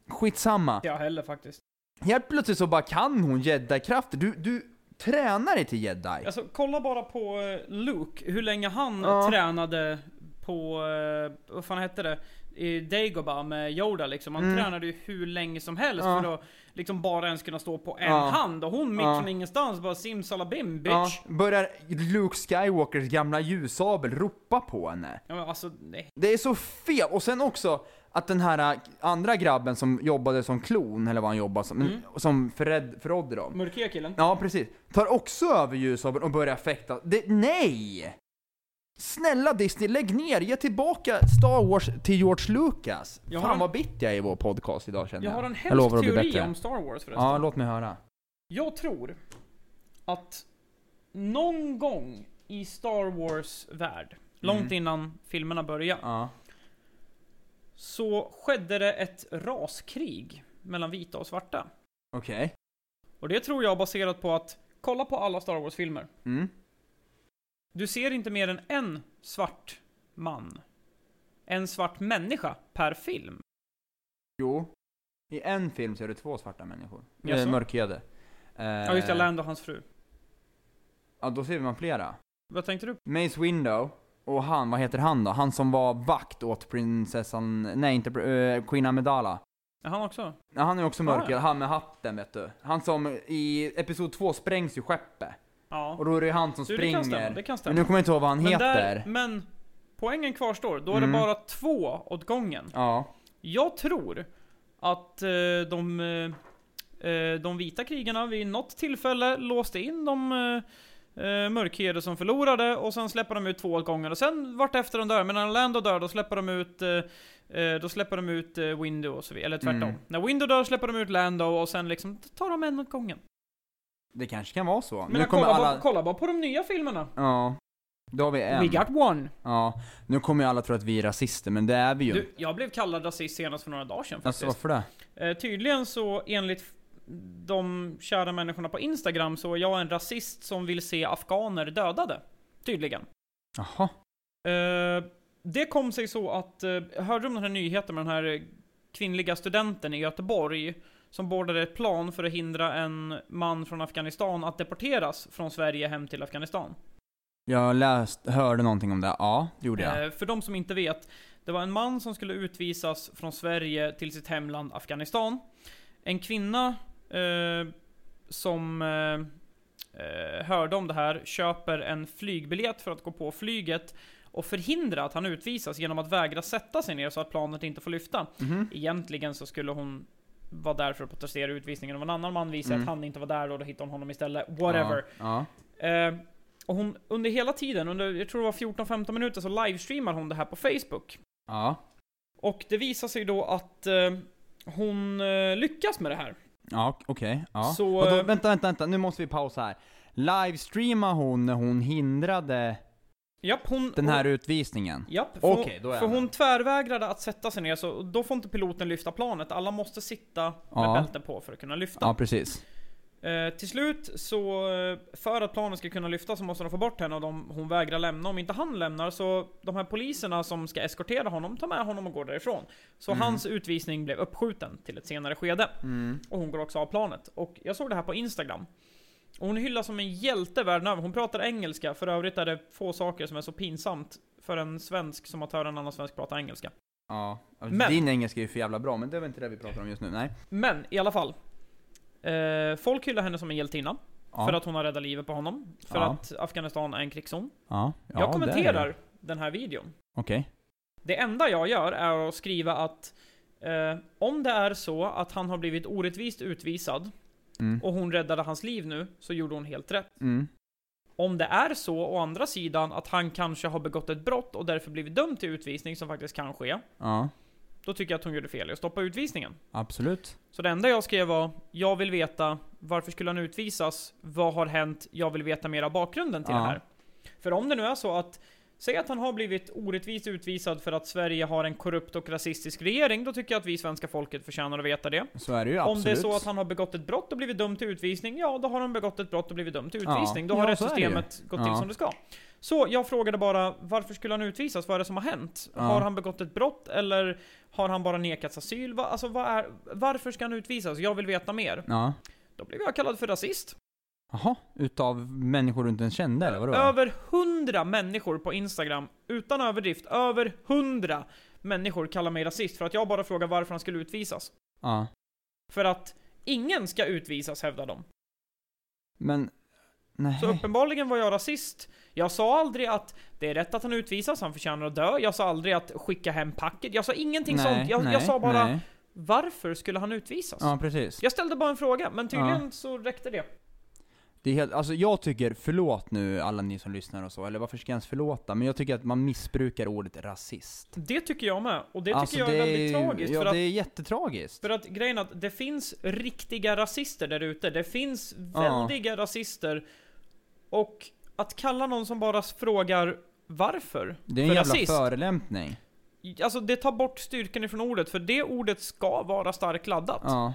A: Skitsamma.
B: Jag heller faktiskt.
A: Helt plötsligt så bara kan hon jedi-krafter. Du, du tränar dig till jedi.
B: Alltså kolla bara på eh, Luke, hur länge han
A: Ja.
B: tränade på, eh, vad fan hette det? I Dagobah med Yoda liksom. Han
A: Mm.
B: tränade ju hur länge som helst
A: Ja.
B: för att liksom bara ens kunna stå på en
A: Ja.
B: hand. Och hon mitt
A: Ja.
B: från ingenstans bara simsalabim bitch.
A: Ja,
B: Ja.
A: börjar Luke Skywalkers gamla ljussabel ropa på henne.
B: men alltså, nej.
A: Det är så fel! Och sen också att den här äh, andra grabben som jobbade som klon, eller vad han jobbade som, men-
B: Mm.
A: som förrädd, förrådde dem.
B: Mörkhyade killen.
A: Ja, precis. Tar också över ljussabeln och börjar fäkta. Det, nej! Snälla Disney, lägg ner! Ge tillbaka Star Wars till George Lucas!
B: Jag har
A: Fan
B: en-
A: vad bitter jag är i vår podcast idag känner
B: Jag
A: jag.
B: har en
A: lovar
B: hemsk
A: att bli
B: teori
A: bättre.
B: om Star Wars förresten.
A: Ja, låt mig höra.
B: Jag tror att någon gång i Star Wars värld, långt
A: Mm.
B: innan filmerna började,
A: Ja.
B: så skedde det ett raskrig mellan vita och svarta.
A: Okej.
B: Och det tror jag baserat på att, kolla på alla Star Wars-filmer.
A: Mm.
B: Du ser inte mer än en svart man. En svart människa per film.
A: Jo. I en film så är det två svarta människor.
B: Jaså?
A: Eh, mörkhyade. Eh,
B: Ja just det, Land och hans fru.
A: Ja, då ser man flera.
B: Vad tänkte du?
A: Mace Window och han, vad heter han då? Han som var vakt åt prinsessan, nej inte pr- eh, Queen Amidala.
B: Är han också?
A: Ja, han är också
B: Ah, ja.
A: mörkhyad, han med hatten vet du. Han som i episod 2 sprängs ju skeppet.
B: Ja.
A: Och då är det ju han som
B: Du, det kan stämma,
A: springer.
B: det kan
A: men
B: stämma.
A: nu kommer jag inte ihåg vad han
B: Men,
A: heter.
B: där, men poängen kvarstår, då är det
A: Mm.
B: bara två åt gången.
A: Ja.
B: Jag tror att eh, de, eh, eh, de vita krigarna vid något tillfälle låste in de eh, eh, mörkhyade som förlorade och sen släpper de ut två åt gången. Och sen vart efter de dör, men när Lando dör då släpper de ut eh, eh, då släpper de ut eh, Window och så vidare, eller tvärtom.
A: Mm.
B: När Window dör släpper de ut Lando och sen liksom tar de en åt gången.
A: Det kanske kan vara så.
B: Men
A: nu
B: jag
A: kommer
B: kolla,
A: alla...
B: bara, kolla bara på de nya filmerna.
A: Ja. Då har vi en.
B: We got one.
A: Ja. Nu kommer ju alla tro att vi är rasister, men det är vi ju.
B: Du, jag blev kallad rasist senast för några dagar sedan faktiskt.
A: alltså varför det?
B: Eh, tydligen så enligt f- de kära människorna på Instagram så är jag en rasist som vill se afghaner dödade. Tydligen.
A: Jaha.
B: Eh, det kom sig så att, eh, hörde du om den här nyheten med den här eh, kvinnliga studenten i Göteborg? Som boardade ett plan för att hindra en man från Afghanistan att deporteras från Sverige hem till Afghanistan.
A: Jag läst, hörde någonting om det. Ja, det gjorde jag.
B: Eh, för de som inte vet, det var en man som skulle utvisas från Sverige till sitt hemland Afghanistan. En kvinna eh, som eh, eh, hörde om det här köper en flygbiljett för att gå på flyget och förhindra att han utvisas genom att vägra sätta sig ner så att planet inte får lyfta.
A: Mhm.
B: Egentligen så skulle hon vara där för att protestera utvisningen av en annan man, visade
A: Mm.
B: att han inte var där och då hittade hon honom istället. Whatever.
A: Ja.
B: Eh, och hon, under hela tiden, under, jag tror det var 14-15 minuter, så livestreamar hon det här på Facebook.
A: Ja.
B: Och det visar sig då att eh, hon eh, lyckas med det här.
A: Ja, okej. ja.
B: Så,
A: Vadå,
B: eh,
A: vänta, vänta, vänta. Nu måste vi pausa här. Livestreama hon när hon hindrade
B: Japp, hon...
A: den här
B: hon,
A: utvisningen?
B: Japp, för,
A: Okej, då är
B: hon,
A: jag
B: för
A: med.
B: hon tvärvägrade att sätta sig ner, så då får inte piloten lyfta planet. Alla måste sitta med
A: Ja.
B: bälten på för att kunna lyfta.
A: Ja, precis.
B: Eh, till slut så, eh, för att planen ska kunna lyfta så måste de få bort henne och de, hon vägrar lämna. Om inte han lämnar så, de här poliserna som ska eskortera honom tar med honom och går därifrån. Så
A: Mm.
B: hans utvisning blev uppskjuten till ett senare skede.
A: Mm.
B: Och hon går också av planet. Och jag såg det här på Instagram. Och hon hyllas som en hjälte världen över. Hon pratar engelska, för övrigt är det få saker som är så pinsamt för en svensk som att höra en annan svensk prata engelska.
A: Ja. alltså,
B: Men-
A: Din engelska är ju för jävla bra, men det är väl inte det vi pratar om just nu? Nej.
B: Men i alla fall. Eh, folk hyllar henne som en hjältinna.
A: Ja.
B: För att hon har räddat livet på honom. För
A: Ja.
B: att Afghanistan är en krigszon.
A: ja. ja,
B: jag
A: det är det.
B: kommenterar den här videon.
A: Okej.
B: Det enda jag gör är att skriva att eh, om det är så att han har blivit orättvist utvisad
A: Mm.
B: och hon räddade hans liv nu så gjorde hon helt rätt.
A: Mm.
B: Om det är så, å andra sidan, att han kanske har begått ett brott och därför blivit dömd till utvisning, som faktiskt kan ske,
A: Ja.
B: då tycker jag att hon gjorde fel i att stoppa utvisningen.
A: Absolut.
B: Så det enda jag skrev var, jag vill veta, varför skulle han utvisas? Vad har hänt? Jag vill veta mer av bakgrunden till
A: Ja.
B: det här. För om det nu är så att, säg att han har blivit orättvist utvisad för att Sverige har en korrupt och rasistisk regering, då tycker jag att vi svenska folket förtjänar att veta det.
A: Så är det ju
B: Om
A: absolut.
B: det är så att han har begått ett brott och blivit dömd till utvisning, ja då har han begått ett brott och blivit dömd till
A: Ja.
B: utvisning. Då har
A: Ja, så är det ju.
B: rättssystemet gått till
A: Ja.
B: som det ska. Så jag frågade bara, varför skulle han utvisas? Vad är det som har hänt?
A: Ja.
B: Har han begått ett brott eller har han bara nekats asyl? Va, alltså, vad är, varför ska han utvisas? Jag vill veta mer.
A: Ja.
B: Då blev jag kallad för rasist.
A: Jaha, utav människor du inte ens kände eller vadå?
B: Över hundra människor på Instagram, utan överdrift, över hundra människor kallar mig rasist för att jag bara frågar varför han skulle utvisas.
A: Ja.
B: För att ingen ska utvisas hävdar de.
A: Men... Nej.
B: Så uppenbarligen var jag rasist. Jag sa aldrig att det är rätt att han utvisas, han förtjänar att dö. Jag sa aldrig att skicka hem packet. Jag sa ingenting
A: nej,
B: sånt. Jag,
A: nej,
B: jag sa bara
A: Nej.
B: varför skulle han utvisas?
A: Ja, precis.
B: Jag ställde bara en fråga, men tydligen
A: Ja.
B: så räckte det.
A: Det är helt, alltså jag tycker, förlåt nu alla ni som lyssnar och så, eller varför ska jag ens förlåta? Men jag tycker att man missbrukar ordet rasist.
B: Det tycker jag med. Och det
A: alltså,
B: tycker jag är väldigt tragiskt.
A: Ja,
B: för,
A: det
B: att,
A: är jättetragiskt.
B: för att grejen är att det finns riktiga rasister där ute. Det finns väldiga rasister. Och att kalla någon som bara frågar varför
A: Det är en
B: för
A: jävla
B: rasist.
A: förolämpning.
B: Alltså det tar bort styrkan ifrån ordet, för det ordet ska vara starkt laddat.
A: Ja.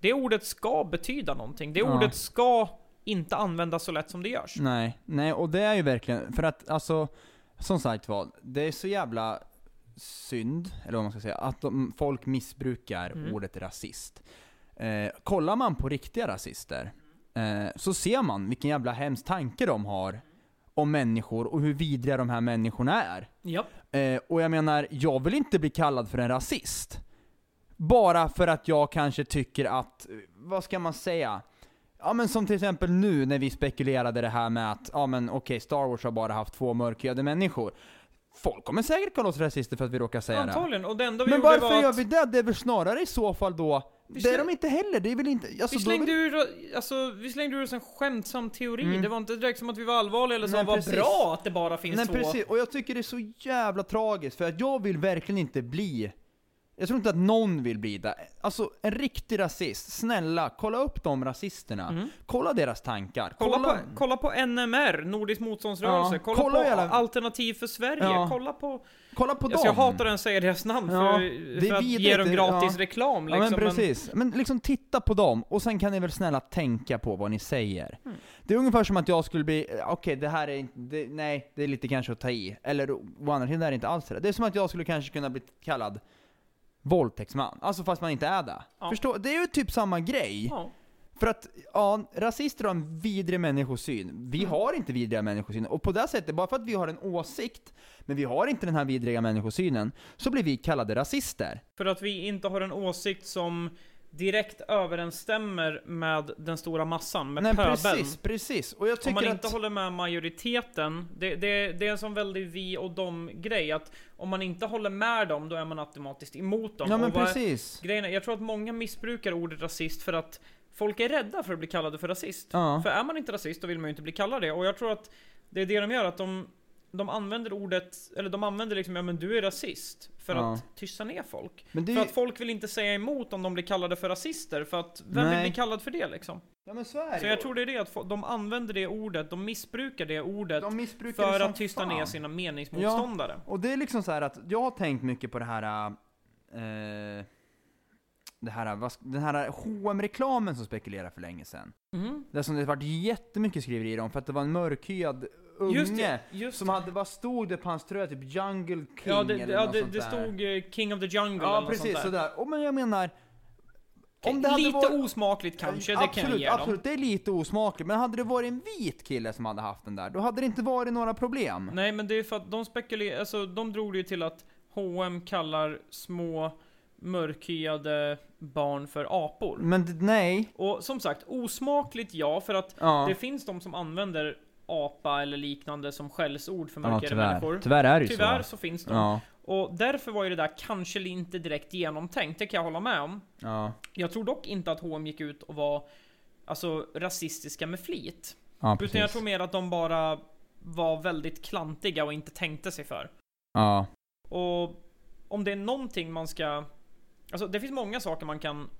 B: Det ordet ska betyda någonting. Det
A: Ja. Mm.
B: ordet ska inte användas så lätt som det görs.
A: Nej, nej och det är ju verkligen, för att alltså, som sagt var, det är så jävla synd, eller vad man ska säga, att de, folk missbrukar
B: Mm.
A: ordet rasist. Eh, kollar man på riktiga rasister, eh, så ser man vilken jävla hemsk tanke de har om människor och hur vidriga de här människorna är.
B: Japp.
A: Eh, och jag menar, jag vill inte bli kallad för en rasist. Bara för att jag kanske tycker att, eh, vad ska man säga? Ja men som till exempel nu när vi spekulerade det här med att, ja men okej, Star Wars har bara haft två mörkhyade människor. Folk kommer säkert kalla oss rasister för att vi råkar säga det.
B: Antagligen. Och det enda vi
A: Men
B: gjorde
A: varför
B: var
A: gör
B: att
A: vi det? Det är väl snarare i så fall då,
B: Vi
A: det är
B: slä-
A: de inte heller, det är väl inte, alltså,
B: vi,
A: då är
B: slängde
A: väl-
B: ur, alltså, vi slängde ur oss en skämtsam teori.
A: Mm.
B: Det var inte direkt som att vi var allvarliga eller så.
A: Nej,
B: Vad
A: precis.
B: bra att det bara finns
A: Nej
B: två.
A: precis, och jag tycker det är så jävla tragiskt för att jag vill verkligen inte bli jag tror inte att någon vill bli det. Alltså en riktig rasist, snälla kolla upp de rasisterna.
B: Mm.
A: Kolla deras tankar.
B: Kolla, På, kolla på NMR, Nordisk motståndsrörelse.
A: Ja,
B: Kolla,
A: kolla
B: på
A: hela-
B: Alternativ för Sverige.
A: Ja.
B: Kolla på...
A: kolla på
B: Alltså, jag
A: dem.
B: hatar att ens säga deras namn
A: Ja,
B: för,
A: det är
B: för att ge
A: vidrigt.
B: dem gratis
A: Ja.
B: reklam. Liksom.
A: ja men precis. Men liksom titta på dem, och sen kan ni väl snälla tänka på vad ni säger. Det är ungefär som att jag skulle bli, eh, okej det här är inte, det, nej det är lite kanske att ta i. Eller å andra sidan är det inte alls det. Det är som att jag skulle kanske kunna bli kallad våldtäktsman. Alltså fast man inte är det.
B: Ja.
A: Förstå? Det är ju typ samma grej.
B: Ja.
A: För att, ja, rasister har en vidrig människosyn.
B: Mm.
A: Vi har inte vidriga människosyn. Och på det sättet, bara för att vi har en åsikt, men vi har inte den här vidriga människosynen, så blir vi kallade rasister.
B: För att vi inte har en åsikt som direkt överensstämmer med den stora massan, med
A: Nej,
B: pöbeln.
A: precis, precis. Och jag
B: Om man
A: tycker
B: inte
A: att...
B: håller med majoriteten, det, det, det är en sån väldigt vi och dem grej att om man inte håller med dem, då är man automatiskt emot dem.
A: Ja men
B: Och vad-
A: precis.
B: Grejen är, jag tror att många missbrukar ordet rasist för att folk är rädda för att bli kallade för rasist.
A: Ja.
B: För är man inte rasist då vill man ju inte bli kallad det. Och jag tror att det är det de gör, att de, de använder ordet, eller de använder liksom ja men du är rasist. För
A: Ja.
B: att tysta ner folk.
A: Men det är
B: För
A: ju...
B: att folk vill inte säga emot om de blir kallade för rasister, för att vem
A: Nej.
B: vill bli kallad för det liksom?
A: Ja men så är
B: Så jag tror det är det, att fo- de använder det ordet, de missbrukar det ordet
A: De missbrukar
B: för
A: det
B: att
A: som
B: tysta
A: fan.
B: ner sina meningsmotståndare.
A: Och det är liksom så här att jag har tänkt mycket på det här... Eh, det här, vad, sk- den här H&M-reklamen som spekulerar för länge sedan.
B: Mhm.
A: Det som det varit jättemycket skriverier om för att det var en mörkhyad unge
B: Just det, just
A: som hade, vad stod det på hans tröja? Typ Jungle King
B: Ja, det,
A: eller
B: ja,
A: något
B: det,
A: sånt
B: det
A: där.
B: stod eh, King of the Jungle eller
A: Ja
B: något
A: precis
B: sånt där.
A: sådär. Och men jag menar...
B: Lite osmakligt kanske, det
A: absolut,
B: kan jag ge dem.
A: Absolut, det är lite osmakligt. Men hade det varit en vit kille som hade haft den där, då hade det inte varit några problem.
B: Nej men det är för att de spekulerar, alltså de drog det ju till att H&M kallar små mörkhyade barn för apor.
A: Men d- nej.
B: Och som sagt, osmakligt ja, för att
A: Ja,
B: det finns de som använder apa eller liknande som skällsord för
A: ja
B: mörkhyade
A: tyvärr.
B: människor.
A: Tyvärr är det ju
B: Tyvärr
A: så.
B: så finns de.
A: Ja,
B: Och därför var ju det där kanske inte direkt genomtänkt, det kan jag hålla med om.
A: ja,
B: Jag tror dock inte att H&M gick ut och var alltså rasistiska med
A: ja
B: flit. Utan jag
A: precis.
B: tror mer att de bara var väldigt klantiga och inte tänkte sig för.
A: Ja,
B: Och om det är någonting man ska... Alltså det finns många saker man kan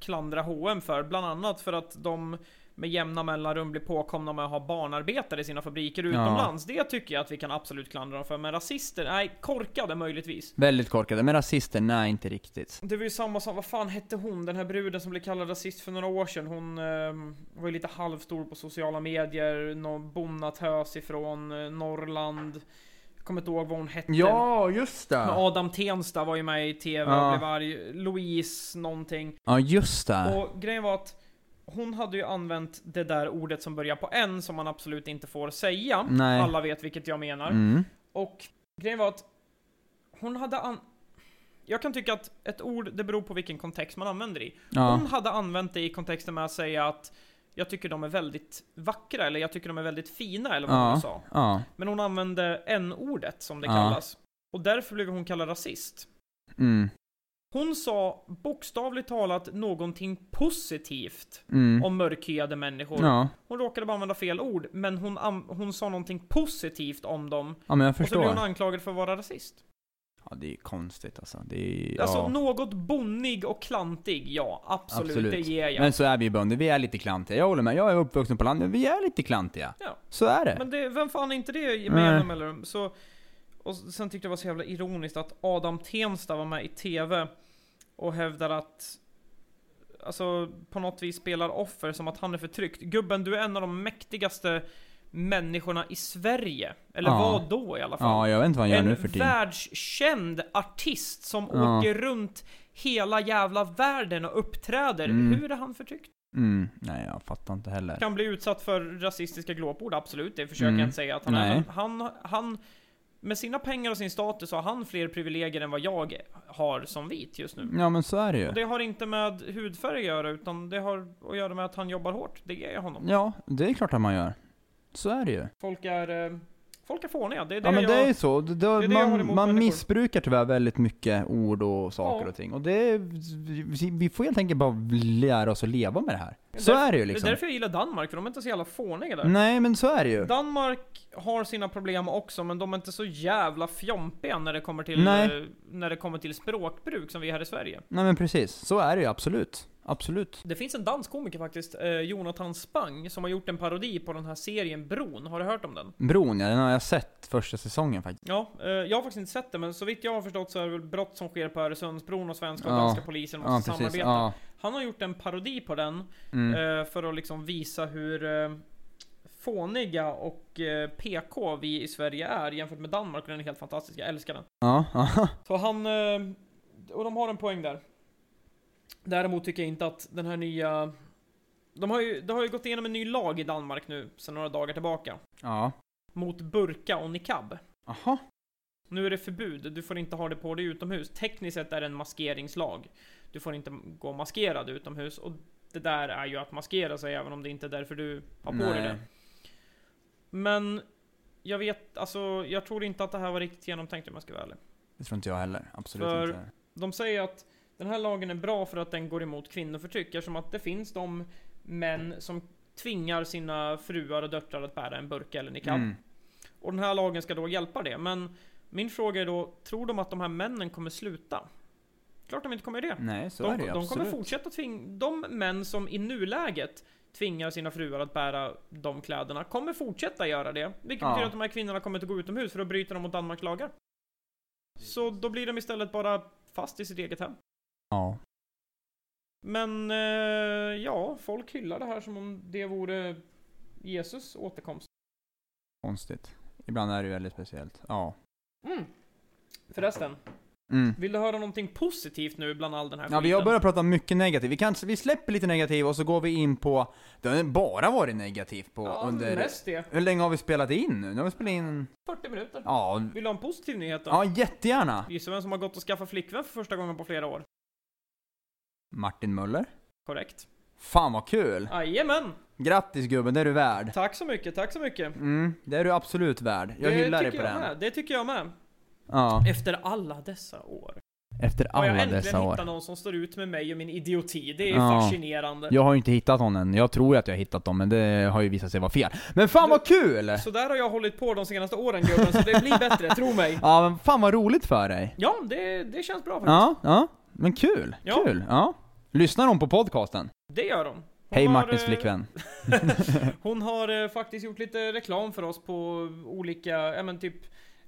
B: klandra H&M för, bland annat för att de med jämna mellanrum blir påkomna med att ha barnarbetare i sina fabriker
A: Ja.
B: utomlands. Det tycker jag att vi kan absolut klandra dem för, men rasister, nej, korkade möjligtvis.
A: väldigt korkade. Men rasister, nej inte riktigt.
B: Det var ju samma som, vad fan hette hon, den här bruden som blev kallad rasist för några år sedan. Hon ehm, var ju lite halvstor på sociala medier, någon bonnatös ifrån eh, Norrland. Jag kommer inte ihåg vad hon hette.
A: Ja, just
B: Men
A: det!
B: Adam Tensta var ju med i TV
A: Ja.
B: och blev arg. Louise någonting.
A: Ja, just det.
B: Och grejen var att hon hade ju använt det där ordet som börjar på N som man absolut inte får säga.
A: Nej.
B: Alla vet vilket jag menar.
A: Mm.
B: Och grejen var att hon hade an... Jag kan tycka att ett ord, det beror på vilken kontext man använder det i.
A: Ja.
B: Hon hade använt det i kontexten med att säga att jag tycker de är väldigt vackra, eller jag tycker de är väldigt fina, eller vad
A: Ja.
B: hon sa.
A: Ja.
B: Men hon använde n-ordet, som det
A: Ja.
B: kallas. Och därför blev hon kallad rasist.
A: Mm.
B: Hon sa bokstavligt talat någonting positivt
A: Mm.
B: om mörkhyade människor.
A: Ja.
B: Hon råkade bara använda fel ord, men hon, am- hon sa någonting positivt om dem.
A: ja, men jag
B: Och så blev hon
A: förstår.
B: anklagad för att vara rasist.
A: Ja, det är ju konstigt alltså. Det är, ja.
B: Alltså något bonnig och klantig, ja. Absolut,
A: Absolut.
B: det ger jag.
A: Men så är vi ju bönder, vi är lite klantiga. Jag håller med, jag är uppvuxen på landet, vi är lite klantiga.
B: Ja.
A: Så är det.
B: Men det, vem fan är inte det med
A: Nej.
B: jämna mellanrum? Så, och sen tyckte jag det var så jävla ironiskt att Adam Tensta var med i TV och hävdar att Alltså på något vis spelar offer som att han är förtryckt. Gubben, du är en av de mäktigaste människorna i Sverige. Eller
A: Ja.
B: var då i alla fall.
A: Ja, jag vet inte vad han gör
B: en
A: nu för tiden.
B: världskänd artist som
A: Ja.
B: åker runt hela jävla världen och uppträder.
A: Mm.
B: Hur är han förtryckt?
A: Mm. Nej, jag fattar inte heller.
B: Kan bli utsatt för rasistiska glåpord, absolut. Det försöker
A: Mm.
B: jag inte säga att han är.
A: Nej.
B: Men Han, han, med sina pengar och sin status har han fler privilegier än vad jag har som vit just nu.
A: Ja, men så är det ju.
B: Och det har inte med hudfärg att göra, utan det har att göra med att han jobbar hårt. Det ger jag honom.
A: Ja, det är klart att man gör. Så är det ju.
B: Folk är, eh, folk är fåniga. Det är det
A: Ja men
B: jag...
A: det är ju så, det, det,
B: är det jag har
A: man,
B: emot
A: man
B: människor.
A: missbrukar tyvärr väldigt mycket ord och saker
B: Ja.
A: och ting. Och det, vi- vi får helt enkelt bara lära oss att leva med det här.
B: Det är
A: Så
B: därför-
A: är det ju
B: Det är
A: liksom. Mm.
B: därför jag gillar Danmark, för de är inte så jävla fåniga där.
A: Nej men så är det ju.
B: Danmark har sina problem också, men de är inte så jävla fjompiga när det kommer till,
A: Nej.
B: eh, när det kommer till språkbruk som vi här i Sverige.
A: Nej men precis, så är det ju absolut. Absolut.
B: Det finns en dansk komiker faktiskt, eh, Jonathan Spang, som har gjort en parodi på den här serien Bron. Har du hört om den?
A: Bron ja, den har jag sett första säsongen faktiskt.
B: Ja, eh, jag har faktiskt inte sett det, men så vitt jag har förstått så är det väl brott som sker på Öresundsbron och svenska och
A: Ja.
B: danska polisen måste
A: Ja precis,
B: samarbeta.
A: ja.
B: Han har gjort en parodi på den
A: Mm.
B: eh, för att liksom visa hur eh, fåniga och eh, PK vi i Sverige är jämfört med Danmark och den är helt fantastisk. Jag älskar den.
A: Ja, ja.
B: Så han... eh, Och de har en poäng där. Däremot tycker jag inte att den här nya... De har ju, det har ju gått igenom en ny lag i Danmark nu, sedan några dagar tillbaka.
A: Ja.
B: Mot burka och niqab.
A: Aha.
B: Nu är det förbud, du får inte ha det på dig utomhus. Tekniskt sett är det en maskeringslag. Du får inte gå maskerad utomhus. Och det där är ju att maskera sig, även om det inte är därför du har på dig
A: Nej.
B: det. Men... Jag vet, alltså, jag tror inte att det här var riktigt genomtänkt om jag ska vara ärlig.
A: Det tror inte jag heller. Absolut
B: För-
A: inte.
B: De säger att den här lagen är bra för att den går emot kvinnoförtryck eftersom att det finns de män som tvingar sina fruar och döttrar att bära en burka eller niqab.
A: Mm.
B: Och den här lagen ska då hjälpa det. Men min fråga är då, tror de att de här männen kommer sluta? Klart de inte kommer göra det.
A: Nej, så är
B: De,
A: det ju
B: de kommer
A: absolut.
B: fortsätta tvinga, de män som i nuläget tvingar sina fruar att bära de kläderna kommer fortsätta göra det. Vilket
A: Ja.
B: betyder att de här kvinnorna kommer inte gå utomhus för då bryter de mot Danmarks lagar. Så då blir de istället bara fast i sitt eget hem.
A: Ja.
B: Men eh, ja, folk hyllar det här som om det vore Jesus återkomst.
A: Konstigt. Ibland är det ju väldigt speciellt. Ja.
B: Mm. Förresten,
A: Mm.
B: vill du höra någonting positivt nu bland all den här
A: Ja, vi har
B: skiten?
A: börjat prata mycket negativt. Vi, kan, vi släpper lite negativt och så går vi in på... Det har bara varit negativt på
B: ja,
A: under...
B: mest det.
A: Hur länge har vi spelat in nu? Nu har vi spelat in...
B: 40 minuter.
A: Ja,
B: Vill du ha en positiv nyhet då?
A: ja jättegärna!
B: Gissa vem som har gått och skaffat flickvän för första gången på flera år?
A: Martin Möller.
B: Korrekt.
A: Fan vad kul!
B: Jajamän!
A: Grattis gubben, det är du värd.
B: Tack så mycket, tack så mycket.
A: Mm, det är du absolut värd. Jag
B: det
A: hyllar dig på
B: tycker jag
A: den.
B: Med. Det tycker jag med.
A: Ja,
B: Efter alla dessa år.
A: efter
B: har jag
A: alla
B: äntligen
A: dessa
B: hittat
A: år.
B: någon som står ut med mig och min idioti. Det är
A: Ja.
B: fascinerande.
A: Jag har ju inte hittat någon än. Jag tror ju att jag har hittat dem, men det har ju visat sig vara fel. Men fan vad kul!
B: Så där har jag hållit på de senaste åren gubben, så det blir bättre, tro mig.
A: Ja, men fan vad roligt för dig.
B: Ja, det, det känns bra faktiskt.
A: Ja, ja. Men kul,
B: Ja.
A: kul. Ja. Lyssnar hon på podcasten?
B: Det gör de. Hon
A: Hej
B: har,
A: Martins
B: eh,
A: flickvän.
B: Hon har eh, faktiskt gjort lite reklam för oss på olika, ja men typ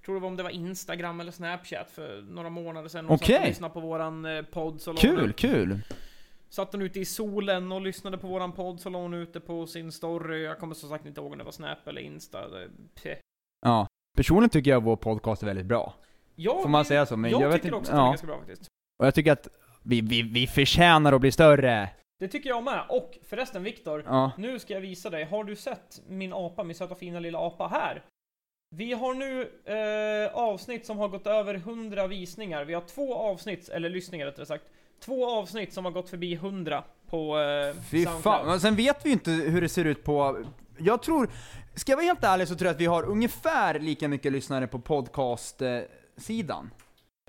B: Tror det var om det var Instagram eller Snapchat för några månader sedan. Hon satt
A: Okej.
B: och lyssnade på våran eh, podd så la hon
A: Kul,
B: ut-
A: kul.
B: Satt hon ute i solen och lyssnade på våran podd så la hon ute på sin story. Jag kommer som sagt inte ihåg om det var Snap eller Insta. Det- peh.
A: Ja. Personligen tycker jag vår podcast är väldigt bra.
B: Jag,
A: Får man säga så? Men
B: jag,
A: jag, vet
B: tycker
A: inte.
B: också att den är
A: ja.
B: ganska bra faktiskt.
A: Och jag tycker att vi, vi, vi förtjänar att bli större.
B: Det tycker jag med. Och förresten Viktor,
A: Ja.
B: Nu ska jag visa dig. Har du sett min apa, min söta fina lilla apa här? Vi har nu eh, avsnitt som har gått över 100 visningar. Vi har två avsnitt, eller lyssningar rättare sagt. Två avsnitt som har gått förbi 100 på eh,
A: Fy fan. Men sen vet vi ju inte hur det ser ut på... Jag tror... Ska jag vara helt ärlig så tror jag att vi har ungefär lika mycket lyssnare på podcast-sidan.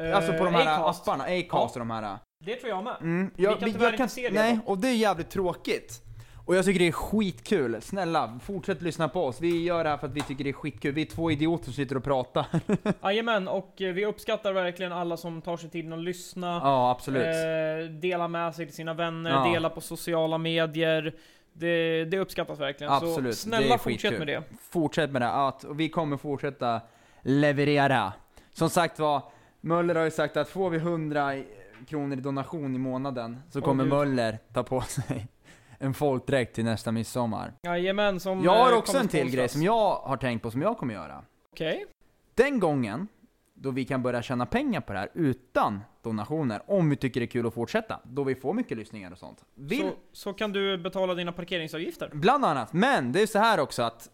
B: Eh,
A: Alltså på de här
B: Acast.
A: apparna, Acast och de här.
B: Det tror jag med.
A: Mm.
B: Vi kan tyvärr inte se det
A: Nej, och det är jävligt tråkigt. Och jag tycker det är skitkul. Snälla, fortsätt lyssna på oss. Vi gör det här för att vi tycker det är skitkul. Vi är två idioter som sitter och pratar.
B: Jajamän, och eh, vi uppskattar verkligen alla som tar sig tiden att lyssna.
A: ja, absolut.
B: eh, dela med sig till sina vänner,
A: Ja.
B: dela på sociala medier. Det, det uppskattas verkligen.
A: Absolut,
B: Så
A: det är
B: snälla fortsätt
A: skitkul.
B: med det.
A: Fortsätt med det. Att, och vi kommer fortsätta leverera. Som sagt var, Möller har ju sagt att får vi 100 i- kronor i donation i månaden så
B: Åh,
A: kommer
B: Gud.
A: Möller ta på sig en folkdräkt till nästa midsommar.
B: Jajamän, som
A: Jag har
B: eh,
A: också
B: kommer
A: en till grej
B: sponsras.
A: som jag har tänkt på som jag kommer göra.
B: Okej.
A: Den gången då vi kan börja tjäna pengar på det här utan donationer, om vi tycker det är kul att fortsätta, då vi får mycket lyssningar och sånt. Vill,
B: Så, så kan du betala dina parkeringsavgifter.
A: Bland annat, men det är så här också att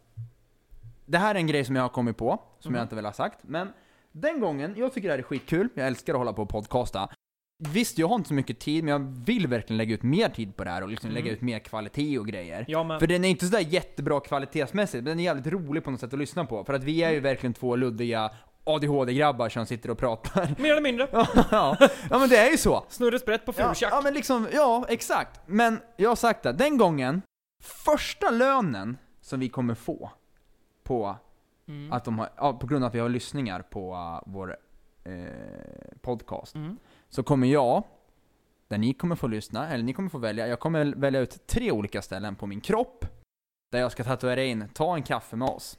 A: det här är en grej som jag har kommit på, som
B: Mhm.
A: jag inte vill ha sagt, men den gången, jag tycker det här är skitkul, jag älskar att hålla på och podcasta. Visst, jag har inte så mycket tid, men jag vill verkligen lägga ut mer tid på det här och liksom
B: Mm.
A: lägga ut mer kvalitet och grejer.
B: Ja men.
A: För den är inte sådär jättebra kvalitetsmässigt, men den är jävligt rolig på något sätt att lyssna på. För att vi är ju verkligen två luddiga ADHD-grabbar som sitter och pratar.
B: Mer eller mindre.
A: ja, ja men det är ju så.
B: Snurre sprätt på
A: Ja,
B: furtjack.
A: ja men liksom, ja exakt. Men jag har sagt det, den gången, första lönen som vi kommer få på,
B: Mm.
A: att de har, ja, på grund av att vi har lyssningar på uh, vår eh, podcast,
B: Mm.
A: så kommer jag, där ni kommer få lyssna, eller ni kommer få välja, jag kommer välja ut tre olika ställen på min kropp, där jag ska tatuera in 'Ta en kaffe med oss'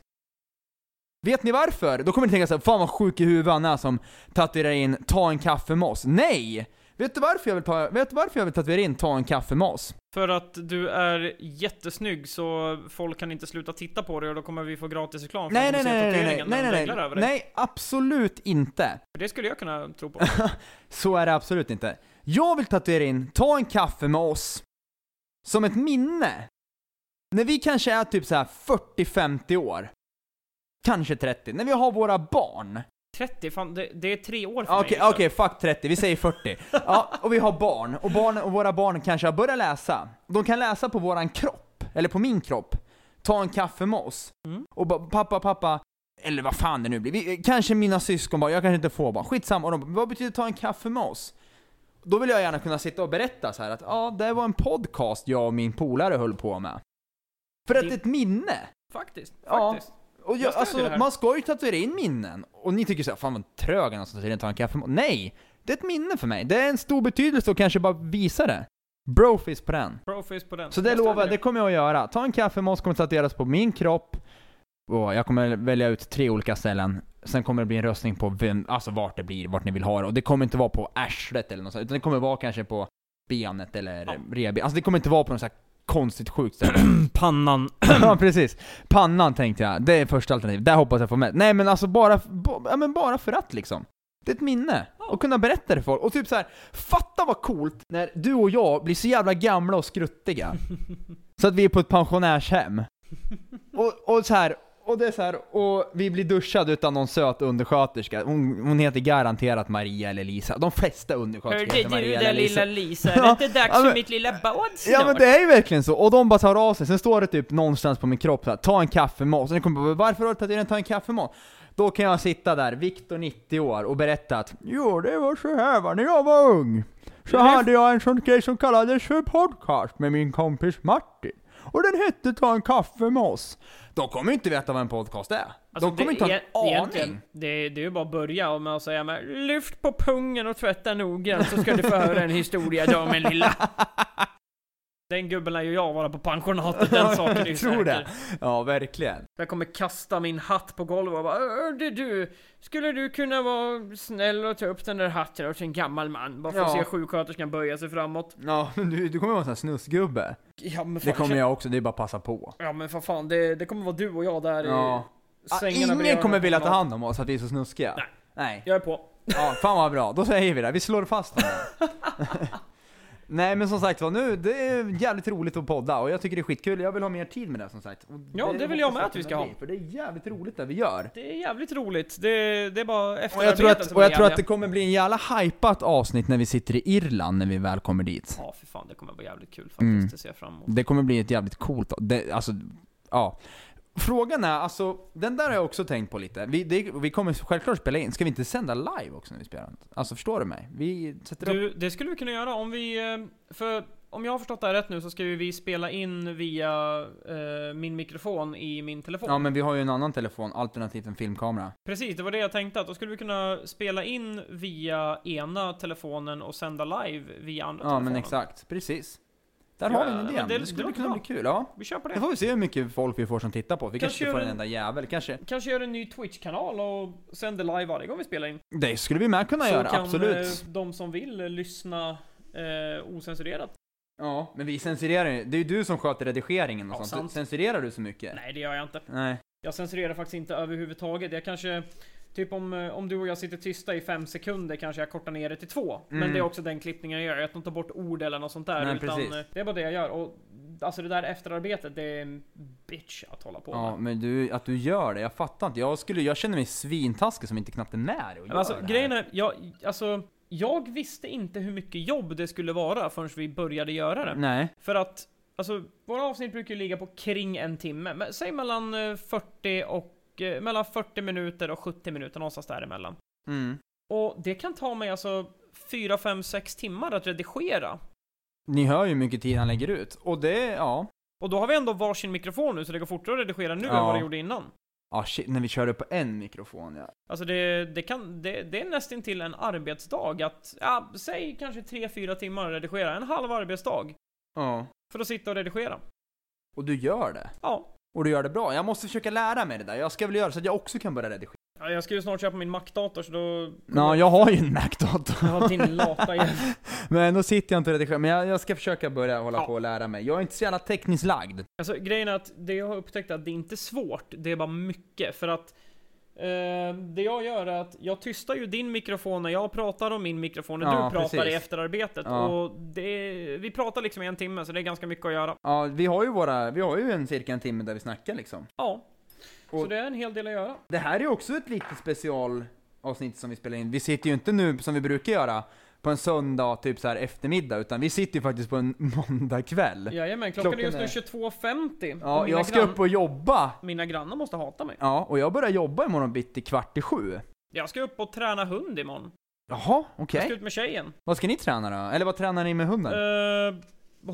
A: Vet ni varför? Då kommer ni tänka såhär, fan vad sjuk i huvudet han är som tatuerar in 'Ta en kaffe med oss' Nej! Vet du varför jag vill, ta, vet du varför jag vill tatuera in 'Ta en kaffe med oss'?
B: För att du är jättesnygg så folk kan inte sluta titta på dig och då kommer vi få gratis reklam för
A: Nej
B: att de
A: nej
B: ser
A: nej nej nej,
B: tatueringen när de
A: nej nej
B: reglar
A: nej,
B: över dig.
A: nej absolut inte!
B: För Det skulle jag kunna tro på.
A: Så är det absolut inte. Jag vill tatuera in 'Ta en kaffe med oss' som ett minne. När vi kanske är typ så här 40-50 år. Kanske 30. När vi har våra barn.
B: 30, fan det, det är tre år för
A: Ja,
B: mig.
A: Okej,
B: liksom.
A: okej, fuck 30. Vi säger 40. Ja, och vi har barn. Och, barn. och våra barn kanske har börjat läsa. De kan läsa på våran kropp, eller på min kropp. Ta en kaffe med oss.
B: Mm.
A: Och ba, pappa, pappa, eller vad fan det nu blir. Vi, kanske mina syskon bara, jag kanske inte får barn. Skitsamma. Och de bara, vad betyder ta en kaffe med oss? Då vill jag gärna kunna sitta och berätta så här att ja, det var en podcast jag och min polare höll på med. För att det är ett minne.
B: Faktiskt,
A: Ja.
B: faktiskt.
A: Och jag,
B: Jag stödjer det
A: alltså,
B: här.
A: man ska ju tatuera in minnen. Och ni tycker såhär, fan vad trög han är som tatuerar in, ta en kaffe. Nej! Det är ett minne för mig. Det är en stor betydelse att kanske bara visa det. Brofist på den.
B: Proface på den.
A: Så det
B: Jag
A: lovar
B: stödjer
A: jag, det kommer jag att göra. Ta en kaffe med oss, kommer tatueras på min kropp. Och jag kommer välja ut tre olika ställen. Sen kommer det bli en röstning på vem, alltså vart det blir, vart ni vill ha det. Och det kommer inte vara på arslet eller något sånt, utan det kommer vara kanske på benet eller
B: Ja.
A: revbenet. Alltså det kommer inte vara på något sånt här konstigt sjukt ställe.
B: Pannan.
A: Ja precis. Pannan tänkte jag, det är första alternativet. Där hoppas jag få med. Nej men alltså bara, ba, ja, men bara för att liksom. Det är ett minne. Och kunna berätta det för folk. Och typ så här, fatta vad coolt när du och jag blir så jävla gamla och skruttiga. så att vi är på ett pensionärshem. Och, och så här, och det är så här, och vi blir duschade utan någon söt undersköterska. Hon, hon heter garanterat Maria eller Lisa. De flesta undersköterskor
B: Hörde
A: heter
B: du
A: Maria eller
B: där
A: Lisa.
B: lilla Lisa?
A: Ja,
B: Är det inte dags
A: ja,
B: för
A: men-
B: mitt lilla bad snart?
A: Ja men det är ju verkligen så, och de bara tar av sig, sen står det typ någonstans på min kropp såhär, ta en kaffe med oss, och ni kommer bara, varför har du tagit in en ta en kaffe med oss? Då kan jag sitta där, Viktor 90 år, och berätta att jo det var så här va, när jag var ung, så
B: Det är-
A: hade jag en sån grej som kallades för podcast med min kompis Martin. Och den hette Ta en kaffe med oss. De kommer ju inte veta vad en podcast är.
B: Alltså,
A: de kommer
B: det
A: inte ha
B: är- det är
A: en
B: egentligen-
A: aning.
B: Det, är- det är ju bara att börja med att säga med Lyft på pungen och tvätta noggrant så ska du få höra en historia idag min lilla. Den gubben lär ju jag vara på pensionatet, den saken är ju
A: Jag tror
B: säker.
A: det. Ja, verkligen.
B: Jag kommer kasta min hatt på golvet och bara Hörde du, skulle du kunna vara snäll och ta upp den där hatten åt en gammal man? Bara för att
A: Ja.
B: se sjuksköterskan böja sig framåt.
A: Ja, men du, du kommer vara en sån här snusgubbe.
B: Ja men
A: Det
B: fan,
A: kommer jag också, det är bara att passa på.
B: Ja men för fan, det, det kommer vara du och jag
A: Ja.
B: där i
A: Ah,
B: sängarna
A: Ingen
B: bredvid
A: kommer
B: varandra.
A: vilja ta hand om oss att vi är så snuskiga.
B: Nej.
A: Nej.
B: Jag är på.
A: Ja, fan vad bra. Då säger vi det. Vi slår fast det. Nej men som sagt var nu, det är jävligt roligt att podda och jag tycker det är skitkul. Jag vill ha mer tid med det som sagt. Och
B: Ja, det vill jag med att vi ska ha.
A: För det är jävligt roligt det vi gör.
B: Det är jävligt roligt. Det, det är bara
A: Och jag, tror
B: efterarbetet
A: att,
B: som
A: och
B: är
A: jag tror att det
B: jävliga.
A: kommer bli en jävla hypat avsnitt när vi sitter i Irland när vi väl kommer dit.
B: Ja, för fan, det kommer vara jävligt kul faktiskt.
A: Mm.
B: Det ser jag fram emot.
A: Det kommer bli ett jävligt coolt, det, alltså, ja. Frågan är, alltså, den där har jag också tänkt på lite. Vi, det, vi kommer självklart spela in, ska vi inte sända live också när vi spelar? Alltså förstår du mig? Vi sätter upp...
B: Du, det skulle vi kunna göra om vi... eh, För om jag har förstått det här rätt nu så ska ju vi spela in via eh, min mikrofon i min telefon.
A: Ja men vi har ju en annan telefon, alternativt en filmkamera.
B: Precis, det var det jag tänkte att då skulle vi kunna spela in via ena telefonen och sända live via andra
A: Ja
B: telefonen.
A: men exakt, precis. Där
B: Ja,
A: har vi den
B: men
A: idén.
B: det-
A: Det, skulle
B: det
A: kunna bli
B: låter
A: kul, ja.
B: Vi kör på
A: Då
B: det.
A: får vi se hur mycket folk vi får som tittar på. Vi kanske,
B: Kanske
A: inte får
B: gör
A: en
B: en-
A: enda jävel, kanske.
B: Kanske gör en ny Twitch-kanal och sänder live varje gång vi spelar in.
A: Det skulle vi med kunna göra,
B: så kan
A: absolut.
B: eh, de som vill eh, lyssna eh, ocensurerat.
A: Ja, men vi censurerar ju. Det är ju du som sköter redigeringen och
B: Ja,
A: sånt.
B: sant.
A: Censurerar du så mycket?
B: Nej, det gör jag inte.
A: Nej.
B: Jag censurerar faktiskt inte överhuvudtaget. Jag kanske... Typ om, eh, om du och jag sitter tysta i fem sekunder kanske jag kortar ner det till två.
A: Mm.
B: Men det är också den klippningen jag gör. Jag tar inte bort ord eller något sånt där.
A: Nej,
B: utan
A: precis.
B: eh, det är bara det jag gör. Och alltså det där efterarbetet, det är en bitch att hålla på
A: Ja,
B: med.
A: men du, att du gör det. Jag fattar inte. Jag, skulle, jag känner mig svintaskig som inte knappt är med dig och gör
B: Men alltså
A: det här.
B: grejen är, jag, alltså, jag visste inte hur mycket jobb det skulle vara förrän vi började göra det.
A: Nej.
B: För att, alltså, våra avsnitt brukar ju ligga på kring en timme. Men, säg mellan eh, 40 och, eh, mellan 40 minuter och 70 minuter, någonstans däremellan.
A: Mm.
B: Och det kan ta mig alltså 4, 5, 6 timmar att redigera.
A: Ni hör ju hur mycket tid han lägger ut. Och det, ja.
B: Och då har vi ändå varsin mikrofon nu, så det går fortare att redigera nu
A: Ja.
B: än vad det gjorde innan.
A: Ja, Ah, shit, när vi kör upp på en mikrofon ja.
B: Alltså det, det, kan, det, det är nästan till en arbetsdag att, ja, säg kanske 3-4 timmar att redigera, en halv arbetsdag.
A: Ja.
B: För att sitta och redigera.
A: Och du gör det.
B: Ja.
A: Och du gör det bra. Jag måste försöka lära mig det där. Jag ska väl göra så att jag också kan börja redigera.
B: Ja, Jag ska ju snart köpa min Mac-dator så då...
A: Ja, jag har ju en Mac-dator.
B: Ja, din lata jävel.
A: Men då sitter jag inte och redigerar. Men jag, jag ska försöka börja hålla
B: Ja.
A: på och lära mig. Jag är inte så jävla tekniskt lagd.
B: Alltså grejen är att det jag har upptäckt är att det är inte svårt, det är bara mycket. För att eh, det jag gör är att jag tystar ju din mikrofon när jag pratar och min mikrofon när
A: Ja,
B: du pratar
A: precis.
B: i efterarbetet.
A: Ja.
B: Och det, vi pratar liksom i en timme, så det är ganska mycket att göra.
A: Ja, vi har ju våra, vi har ju en cirka en timme där vi snackar liksom.
B: Ja. Så
A: Och-
B: det är en hel del att göra.
A: Det här är ju också ett litet specialavsnitt som vi spelar in. Vi sitter ju inte nu, som vi brukar göra, på en söndag typ så här eftermiddag, utan vi sitter ju faktiskt på en måndagkväll. Ja,
B: Jajamän, klockan,
A: Klockan
B: är just nu 22.50. och mina
A: jag ska
B: grann-
A: upp och jobba.
B: Mina grannar måste hata mig.
A: Ja, och jag börjar jobba imorgon bitti kvart i sju.
B: Jag ska upp och träna hund imorgon.
A: Jaha,
B: Jag
A: okej.
B: ska ut med tjejen.
A: Vad ska ni träna då? Eller vad tränar ni med hunden?
B: Eh,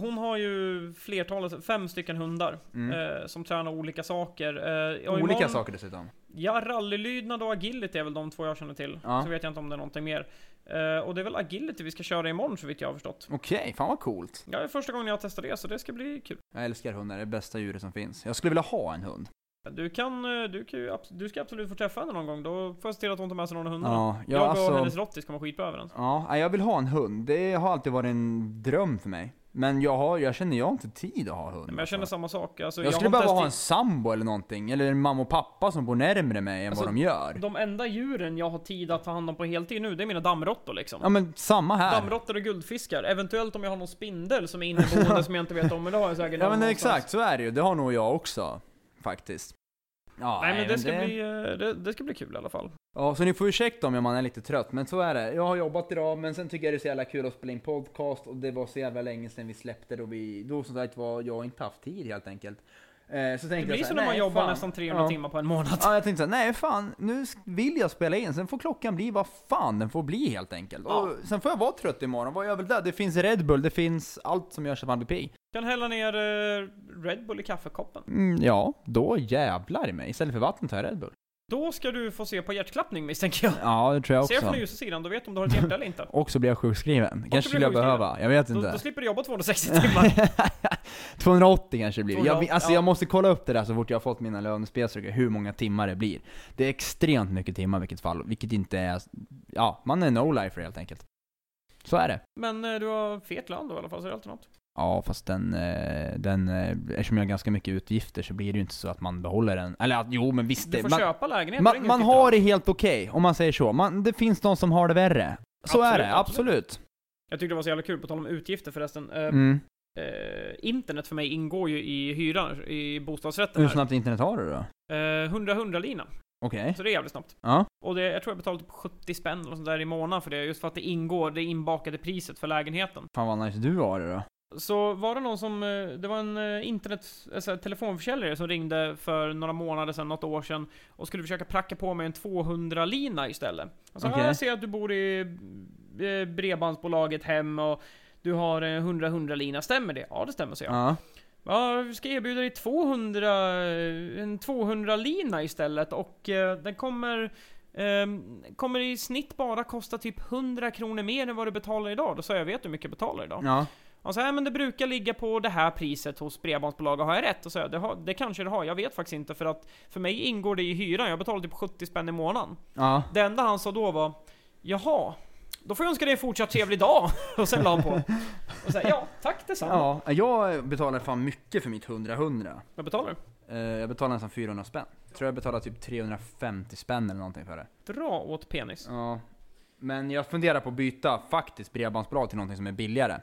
B: hon har ju flertalet, fem stycken hundar.
A: Mm.
B: eh, som tränar olika saker. Eh, och
A: Olika
B: imorgon-
A: saker dessutom.
B: Ja, rallylydnad och agility är väl de två jag känner till.
A: Ja.
B: Så vet jag inte om det är någonting mer. Eh, och det är väl agility vi ska köra imorgon så vitt jag har förstått.
A: Okej, fan vad coolt.
B: Ja, det är första gången jag testar det så det ska bli kul.
A: Jag älskar hundar, det är det bästa djuret som finns. Jag skulle vilja ha en hund.
B: Du kan, eh, du kan ju, abs- du ska absolut få träffa henne någon gång. Då får jag se till att hon tar med sig någon av hundarna.
A: Ja, jag,
B: Mm. jag och
A: alltså...
B: hennes Rottis kommer skitbra överens.
A: Ja, nej, jag vill ha en hund. Det har alltid varit en dröm för mig. Men jag, har, jag känner, jag har inte tid att ha hund.
B: Men jag känner
A: alltså.
B: samma sak. Alltså,
A: jag, skulle
B: har
A: behöva
B: inte
A: ha en
B: ens
A: sambo eller någonting, eller en mamma och pappa som bor närmre mig än
B: Alltså,
A: vad de gör.
B: tid- De enda djuren jag har tid att ta hand om på heltid nu, det är mina dammråttor liksom.
A: Ja men samma här.
B: Dammråttor och guldfiskar. Eventuellt om jag har någon spindel som är inneboende som jag inte vet om, men det har jag säkert
A: ja men
B: någonstans.
A: exakt, så är det ju. Det har nog jag också. Faktiskt. Ja,
B: Nej men det ska, Bli, eh, det, det ska bli kul i alla fall.
A: Ja, så ni får ursäkta om man är lite trött, men så är det. Jag har jobbat idag, men sen tycker jag det är så jävla kul att spela in podcast och det var så jävla länge sedan vi släppte då vi, då som sagt var jag inte haft tid helt enkelt. Eh, så tänkte
B: Det
A: jag
B: blir
A: här,
B: så när man
A: nej,
B: jobbar
A: fan.
B: nästan 300
A: Ja.
B: timmar på en månad.
A: Ja, jag tänkte såhär, nej fan, nu sk- vill jag spela in, sen får klockan bli vad fan den får bli helt enkelt.
B: Ja.
A: Och sen får jag vara trött imorgon, vad gör jag väl där? Det finns Red Bull, det finns allt som görs av Andy P.
B: Kan hälla ner eh, Red Bull i kaffekoppen.
A: Mm, ja, då jävlar i mig. Istället för vatten tar jag Red Bull.
B: Då ska du få se på hjärtklappning misstänker jag.
A: Ja, det tror jag
B: Se från
A: också.
B: den ljusa sidan, då vet du om du har ett hjärta eller inte.
A: Och så blir jag sjukskriven. Kanske
B: blir
A: skulle jag
B: jag sjukskriven.
A: behöva, jag vet
B: Då,
A: inte.
B: då slipper du jobba 260 timmar.
A: 280 kanske det blir. Jag,
B: 280,
A: alltså
B: ja.
A: jag måste kolla upp det där så fort jag har fått mina lönespecifika, hur många timmar det blir. Det är extremt mycket timmar i vilket fall, vilket inte är... Ja, man är no-lifer helt enkelt. Så är det.
B: Men eh, du har fet lön då i alla fall, så det är alltid något.
A: Ja, fast den, eh, den... eh, Eftersom jag har ganska mycket utgifter så blir det ju inte så att man behåller den. Eller att, jo men visst.
B: Du
A: Det,
B: får
A: man,
B: köpa lägenhet. det är
A: man,
B: ingen
A: man
B: fitta.
A: har det helt okej, om man säger så. Man, det finns de som har det värre. Så är
B: Absolut,
A: det, absolut.
B: Jag tyckte det var så jävla kul, på tal om utgifter förresten. Eh,
A: Mm.
B: eh, internet för mig ingår ju i hyran, i bostadsrätten
A: Hur
B: här.
A: snabbt internet har du då?
B: Eh, 100-100-lina.
A: Okej.
B: Så det är jävligt snabbt.
A: Ja.
B: Och det, jag tror jag betalade typ 70 spänn eller sånt där i månaden för det, just för att det ingår det inbakade priset för lägenheten.
A: Fan vad nice du har det då.
B: Så var det någon som, eh, det var en eh, internet, alltså, telefonförsäljare som ringde för några månader sedan, något år sedan och skulle försöka pracka på mig en 200-lina istället. Alltså,
A: Okej.
B: ja, jag ser att du bor i eh, Bredbandsbolaget hem och du har eh, en 100-100-lina, stämmer det? Ja, det stämmer, så jag.
A: Ja.
B: Ja, vi ska erbjuda dig 200, en 200-lina istället och eh, den kommer, ehm, kommer i snitt bara kosta typ 100 kronor mer än vad du betalar idag. Då sa jag, vet du hur mycket jag betalar idag?
A: Ja.
B: Han sa, "Nej, men det brukar ligga på det här priset hos bredbandsbolag, och har jag rätt? Och så jag, det, har, det kanske det har, jag vet faktiskt inte för att för mig ingår det i hyran, jag betalar typ 70 spänn i månaden.
A: Ja.
B: Det enda han sa då var, jaha, då får jag önska dig en fortsatt trevlig dag. Och sen la han på. Och så här, ja, tack detsamma.
A: ja. Jag betalar fan mycket för mitt 100-100.
B: Vad betalar du?
A: Eh, Jag betalar nästan 400 spänn. Jag tror jag betalar typ 350 spänn eller någonting för det.
B: Dra åt penis.
A: Ja. Men jag funderar på att byta faktiskt bredbandsbolag till någonting som är billigare.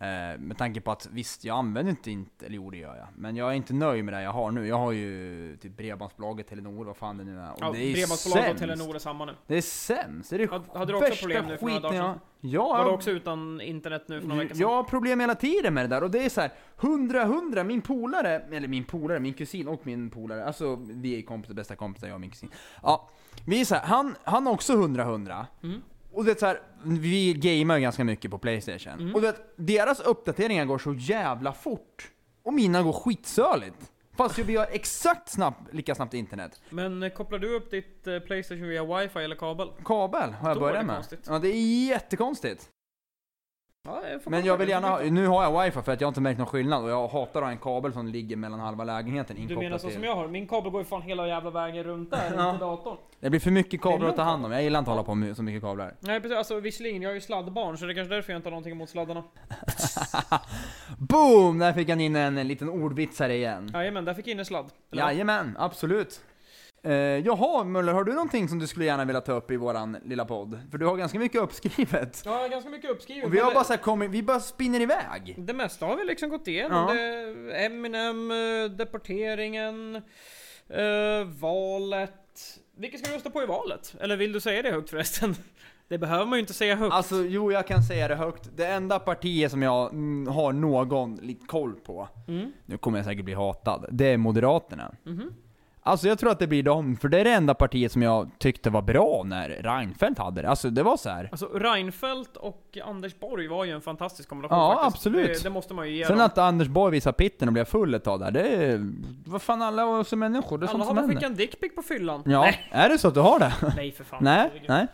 A: Eh, med tanke på att visst, jag använder inte, inte eller jo det gör jag. Men jag är inte nöjd med det jag har nu. Jag har ju typ bredbandsbolaget, Telenor, vad fan det nu är. Och
B: Ja,
A: det är
B: Bredbandsbolag och
A: sämst.
B: Telenor är samma nu.
A: Det är sämst. Det är det
B: Hade- hade du också
A: värsta
B: problem nu för några
A: skiten
B: dagar
A: jag-
B: sedan?
A: Ja,
B: Var
A: jag-
B: du också utan internet nu för några veckor sedan?
A: jag har problem hela tiden med det där och det är så här 100-100, min polare, eller min polare, min kusin och min polare, alltså vi är kompisar, bästa kompisar jag och min kusin. Ja, vi är så här, han, han har också 100-100.
B: Mm.
A: Och det är så här, vi gamear ju ganska mycket på Playstation.
B: Mm.
A: Och du vet, deras uppdateringar går så jävla fort. Och mina går skitsöligt. Fast ju vi har exakt snabbt, lika snabbt internet.
B: Men eh, kopplar du upp ditt eh, Playstation via wifi eller kabel?
A: Kabel har jag
B: Då är det
A: börjat med.
B: konstigt.
A: Ja, det är jättekonstigt.
B: Ja, jag får
A: Men
B: kolla
A: jag
B: det.
A: vill gärna ha, nu har jag wifi för att jag har inte märkt någon skillnad och jag hatar att ha en kabel som ligger mellan halva lägenheten
B: Du menar
A: inkopplad
B: så som
A: till.
B: jag har? Min kabel går ju fan hela jävla vägen runt där,
A: Ja.
B: in till datorn.
A: Det blir för mycket
B: Det
A: kablar
B: är
A: att ta hand om, jag gillar inte att hålla på med så mycket kablar.
B: Nej precis, alltså visserligen, jag är ju sladdbarn så det är kanske därför jag inte har någonting emot sladdarna.
A: Boom! Där fick han in en, en liten ordvits här igen.
B: Jajamän, där fick jag in en sladd. Eller vad?
A: Jajamän, absolut. Eh, jaha Muller, har du någonting som du skulle gärna vilja ta upp i våran lilla podd? För du har ganska mycket uppskrivet.
B: Ja, jag har ganska mycket uppskrivet.
A: Och vi
B: men
A: har
B: det-
A: bara så här kommit, vi bara spinner iväg.
B: Det mesta har vi liksom gått igenom.
A: Ja.
B: Det, Eminem, eh, deporteringen, eh, valet. Vilka ska du rösta på i valet? Eller vill du säga det högt förresten? Det behöver man ju inte säga högt.
A: Alltså jo, jag kan säga det högt. Det enda partiet som jag mm, har någon lite koll på,
B: Mm.
A: nu kommer jag säkert bli hatad, det är Moderaterna.
B: Mhm.
A: Alltså jag tror att det blir dem, för det är det enda partiet som jag tyckte var bra när Reinfeldt hade det. Alltså det var så här.
B: Alltså Reinfeldt och Anders Borg var ju en fantastisk kombination
A: Ja,
B: faktiskt.
A: absolut.
B: Det, det måste man ju ge
A: Sen
B: dem.
A: att Anders Borg visade pitten och blev full ett tag där, det är... Vad fan alla är som människor, det är
B: Alla
A: sånt
B: har
A: som
B: väl
A: händer.
B: skickat en dickpic på fyllan?
A: Ja,
B: Nej,
A: är det så att du har det?
B: nej för fan.
A: nej,
B: Herregud.
A: nej.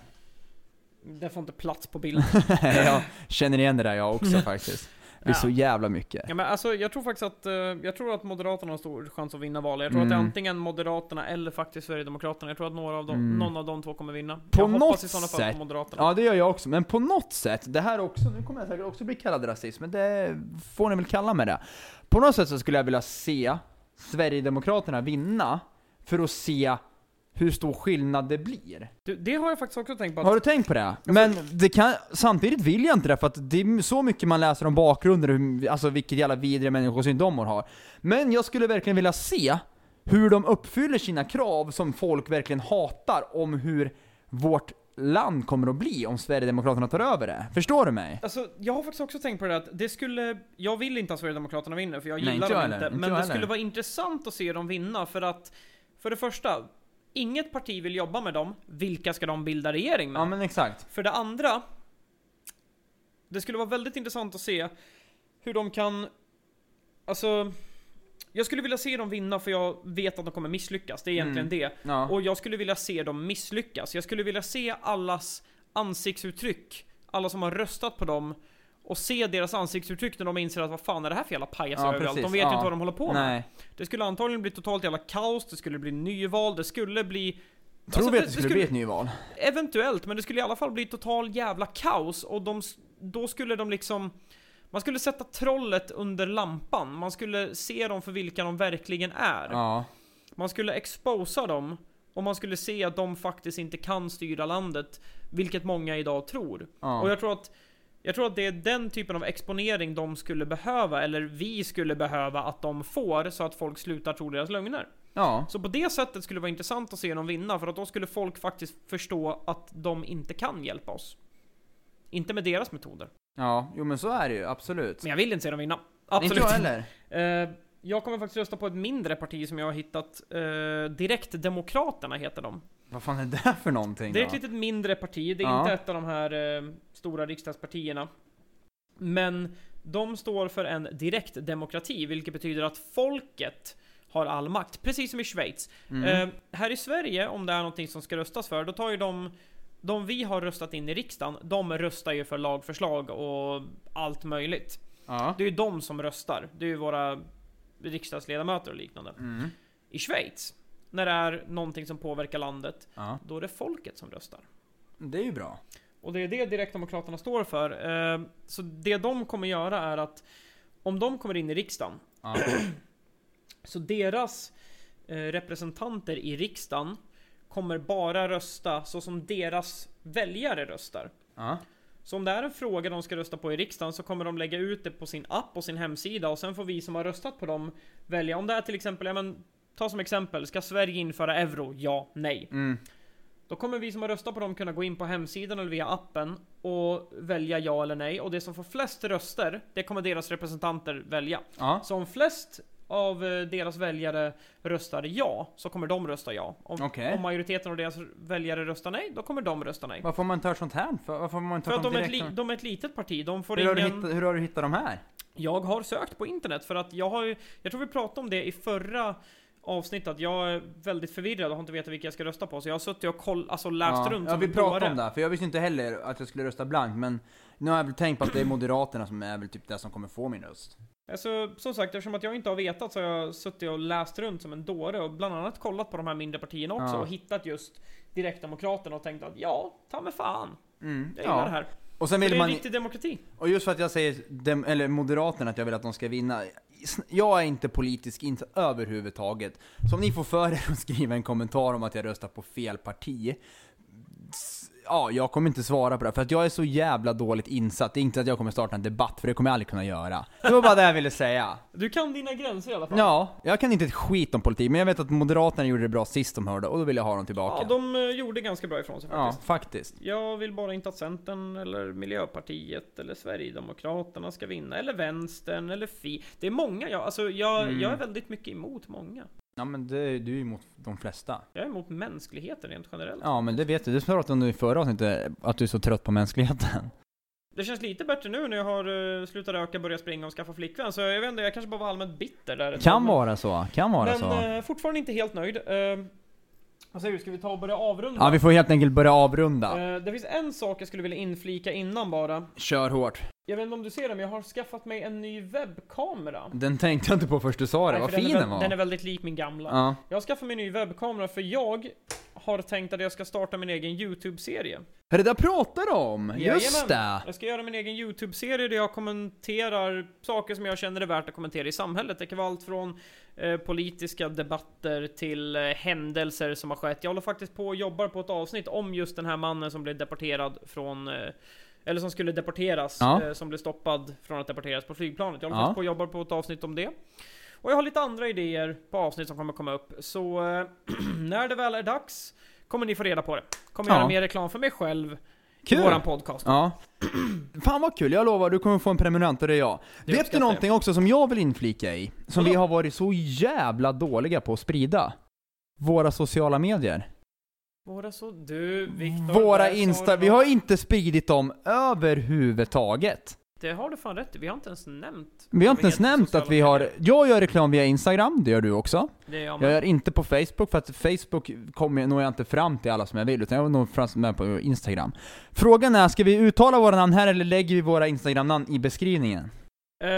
B: Det får inte plats på bilden.
A: jag känner igen det där jag också faktiskt. Det är
B: Ja.
A: så jävla mycket.
B: Ja, men alltså, jag tror faktiskt att, eh, jag tror att Moderaterna har stor chans att vinna valet. Jag tror att det är
A: Mm.
B: antingen Moderaterna eller faktiskt Sverigedemokraterna. Jag tror att några av dem,
A: Mm.
B: någon av de två kommer vinna.
A: På
B: jag hoppas
A: något
B: i sådana fall
A: sätt.
B: på Moderaterna.
A: Ja, det gör jag också. Men på något sätt, det här också, nu kommer jag säkert också bli kallad rasist, men det får ni väl kalla mig det. På något sätt så skulle jag vilja se Sverigedemokraterna vinna, för att se hur stor skillnad det blir.
B: Du, det har jag faktiskt också tänkt på. Att,
A: Har du tänkt på det? Men det kan, samtidigt vill jag inte det, för att det är så mycket man läser om bakgrunder, och hur- alltså vilket jävla vidriga människosyn de har. Men jag skulle verkligen vilja se hur de uppfyller sina krav som folk verkligen hatar om hur vårt land kommer att bli om Sverigedemokraterna tar över det. Förstår du mig?
B: alltså, jag har faktiskt också tänkt på det där att det skulle, jag vill inte att Sverigedemokraterna vinner för jag
A: Nej,
B: gillar
A: inte jag
B: dem
A: heller.
B: inte.
A: Inte
B: men
A: jag
B: det
A: heller.
B: skulle vara intressant att se dem vinna för att, för det första, inget parti vill jobba med dem. Vilka ska de bilda regering med?
A: Ja men exakt.
B: För det andra, det skulle vara väldigt intressant att se hur de kan, alltså, jag skulle vilja se dem vinna för jag vet att de kommer misslyckas, det är egentligen
A: Mm.
B: det.
A: Ja.
B: Och jag skulle vilja se dem misslyckas. Jag skulle vilja se allas ansiktsuttryck, alla som har röstat på dem, och se deras ansiktsuttryck när de inser att vad fan är det här för jävla pajasar
A: Ja,
B: överallt? De
A: precis.
B: vet ju
A: Ja.
B: inte vad de håller på med.
A: Nej.
B: Det skulle antagligen bli totalt jävla kaos, det skulle bli nyval, det skulle bli...
A: Tror
B: Alltså,
A: vi att det skulle bli ett nyval?
B: Eventuellt, men det skulle i alla fall bli total jävla kaos och de, s- då skulle de liksom... Man skulle sätta trollet under lampan, man skulle se dem för vilka de verkligen är.
A: Ja.
B: Man skulle exposa dem och man skulle se att de faktiskt inte kan styra landet, vilket många idag tror. Och
A: ja.
B: jag tror att jag tror att det är den typen av exponering de skulle behöva, eller vi skulle behöva att de får, så att folk slutar tro deras lögner.
A: ja.
B: Så på det sättet skulle det vara intressant att se dem vinna, för att då skulle folk faktiskt förstå att de inte kan hjälpa oss. Inte med deras metoder.
A: Ja, jo men så är det ju, absolut.
B: Men jag vill inte se dem vinna. Absolut.
A: Inte jag heller.
B: Eh, jag kommer faktiskt rösta på ett mindre parti som jag har hittat. Eh, Direktdemokraterna heter de.
A: Vad fan är det här för någonting
B: Det är ett
A: då?
B: litet mindre parti, det är
A: Ja.
B: inte ett av de här eh, stora riksdagspartierna. Men de står för en direktdemokrati, vilket betyder att folket har all makt, precis som i Schweiz.
A: Mm.
B: Eh, här i Sverige, om det är någonting som ska röstas för, då tar ju de de vi har röstat in i riksdagen, de röstar ju för lagförslag och allt möjligt.
A: Ja.
B: Det är ju de som röstar. Det är ju våra riksdagsledamöter och liknande.
A: Mm.
B: I Schweiz, när det är någonting som påverkar landet,
A: ja.
B: då är det folket som röstar.
A: Det är ju bra.
B: Och det är det Direktdemokraterna står för. Eh, Så det de kommer göra är att om de kommer in i riksdagen,
A: Ja.
B: så deras eh, representanter i riksdagen kommer bara rösta så som deras väljare röstar.
A: ja.
B: Så om det är en fråga de ska rösta på i riksdagen så kommer de lägga ut det på sin app och sin hemsida och sen får vi som har röstat på dem välja. Om det är till exempel, ja men ta som exempel, ska Sverige införa euro? Ja, nej.
A: Mm.
B: Då kommer vi som har röstat på dem kunna gå in på hemsidan eller via appen och välja ja eller nej. Och det som får flest röster, det kommer deras representanter välja.
A: Ja.
B: Så om flest av eh, deras väljare röstar ja, så kommer de rösta ja. Om,
A: Okej.
B: om majoriteten av deras väljare röstar nej, då kommer de rösta nej.
A: Varför har man inte hört sånt här för? Varför har man inte
B: För att
A: hört
B: de är, ett
A: direkt?
B: li, de är ett litet parti, de får
A: hur, har du
B: ingen...
A: hittat, hur har du hittat de här?
B: Jag har sökt på internet för att jag har ju, Jag tror vi pratade om det i förra avsnittet, att jag är väldigt förvirrad och har inte vetat vilka jag ska rösta på. Så jag har suttit och koll, alltså läst
A: ja.
B: runt
A: Ja,
B: som
A: vi
B: en
A: pratade
B: dåre.
A: om det här, för jag visste inte heller att jag skulle rösta blankt, men nu har jag väl tänkt på att det är Moderaterna som är väl typ det som kommer få min röst.
B: Alltså, som sagt, eftersom att jag inte har vetat så har jag suttit och läst runt som en dåre och bland annat kollat på de här mindre partierna också
A: Ja.
B: och hittat just Direktdemokraterna och tänkt att ja, ta mig fan,
A: Mm.
B: jag gillar det här.
A: Och sen
B: För det
A: vill
B: är en
A: man...
B: riktig demokrati.
A: Och just för att jag säger dem, eller Moderaterna att jag vill att de ska vinna. Jag är inte politisk inte överhuvudtaget. Så om ni får för er att skriva en kommentar om att jag röstar på fel parti. s- Ja, jag kommer inte svara på det. För att jag är så jävla dåligt insatt. Det är inte att jag kommer starta en debatt, för det kommer jag aldrig kunna göra. Det var bara det jag ville säga.
B: Du kan dina gränser i alla fall.
A: Ja, jag kan inte ett skit om politik, men jag vet att Moderaterna gjorde det bra sist de hörde, och då vill jag ha dem tillbaka.
B: ja de eh, gjorde ganska bra ifrån sig
A: Ja,
B: faktiskt.
A: faktiskt.
B: Jag vill bara inte att Centern eller Miljöpartiet eller Sverigedemokraterna ska vinna, eller Vänstern eller Fi. Det är många, jag, alltså jag,
A: Mm.
B: jag är väldigt mycket emot många.
A: Ja men det, du är ju emot de flesta.
B: Jag är emot mänskligheten rent generellt.
A: Ja men det vet du, du pratade om det i förra avsnittet, att du är så trött på mänskligheten.
B: Det känns lite bättre nu när jag har eh, slutat röka, börjat springa och skaffa flickvän. Så jag vet inte, jag kanske bara var allmänt bitter där. ett tag,
A: Kan
B: men-
A: vara så, kan vara
B: Men
A: så.
B: eh, fortfarande inte helt nöjd. Eh, vad säger du, ska vi ta och börja avrunda?
A: Ja vi får helt enkelt börja avrunda.
B: Eh, det finns en sak jag skulle vilja inflika innan bara.
A: Kör hårt.
B: Jag vet inte om du ser det, men jag har skaffat mig en ny webbkamera.
A: Den tänkte jag inte på först du sa det,
B: Nej,
A: vad
B: för
A: fin
B: är,
A: den
B: väl- Den
A: var.
B: är väldigt lik min gamla.
A: Ja.
B: Jag har skaffat mig en ny webbkamera för jag har tänkt att jag ska starta min egen YouTube-serie.
A: Är det där pratar du om? Just det!
B: Jag ska göra min egen YouTube-serie där jag kommenterar saker som jag känner är värt att kommentera i samhället. Det kan vara allt från eh, politiska debatter till eh, händelser som har skett. Jag håller faktiskt på och jobbar på ett avsnitt om just den här mannen som blev deporterad från eh, eller som skulle deporteras,
A: Ja.
B: eh, som blev stoppad från att deporteras på flygplanet. Jag håller
A: Ja.
B: faktiskt på och jobbar på ett avsnitt om det. Och jag har lite andra idéer på avsnitt som kommer komma upp. Så eh, när det väl är dags kommer ni få reda på det. Kommer
A: Ja.
B: göra mer reklam för mig själv i
A: Kul.
B: våran podcast.
A: Ja. Fan vad kul, jag lovar du kommer få en prenumerant och det är jag.
B: Det
A: Vet
B: uppskattar
A: du
B: jag.
A: någonting också som jag vill inflika i? Som vi
B: Vadå?
A: har varit så jävla dåliga på att sprida? Våra sociala medier.
B: Våra så... Du, Viktor...
A: Våra
B: där sa
A: Insta,
B: du
A: vi
B: något.
A: har inte spridit dem överhuvudtaget.
B: Det har du fan rätt i. Vi har inte ens nämnt.
A: Vi har
B: vad
A: inte ens
B: heter
A: nämnt
B: sociala
A: att vi har,
B: medier.
A: jag gör reklam via Instagram, det gör du också.
B: Det är jag
A: Jag
B: med.
A: gör inte på Facebook, för att Facebook kommer, jag- når jag inte fram till alla som jag vill, utan jag når fram med på Instagram. Frågan är, ska vi uttala våra namn här eller lägger vi våra Instagram-namn i beskrivningen?
B: Eh,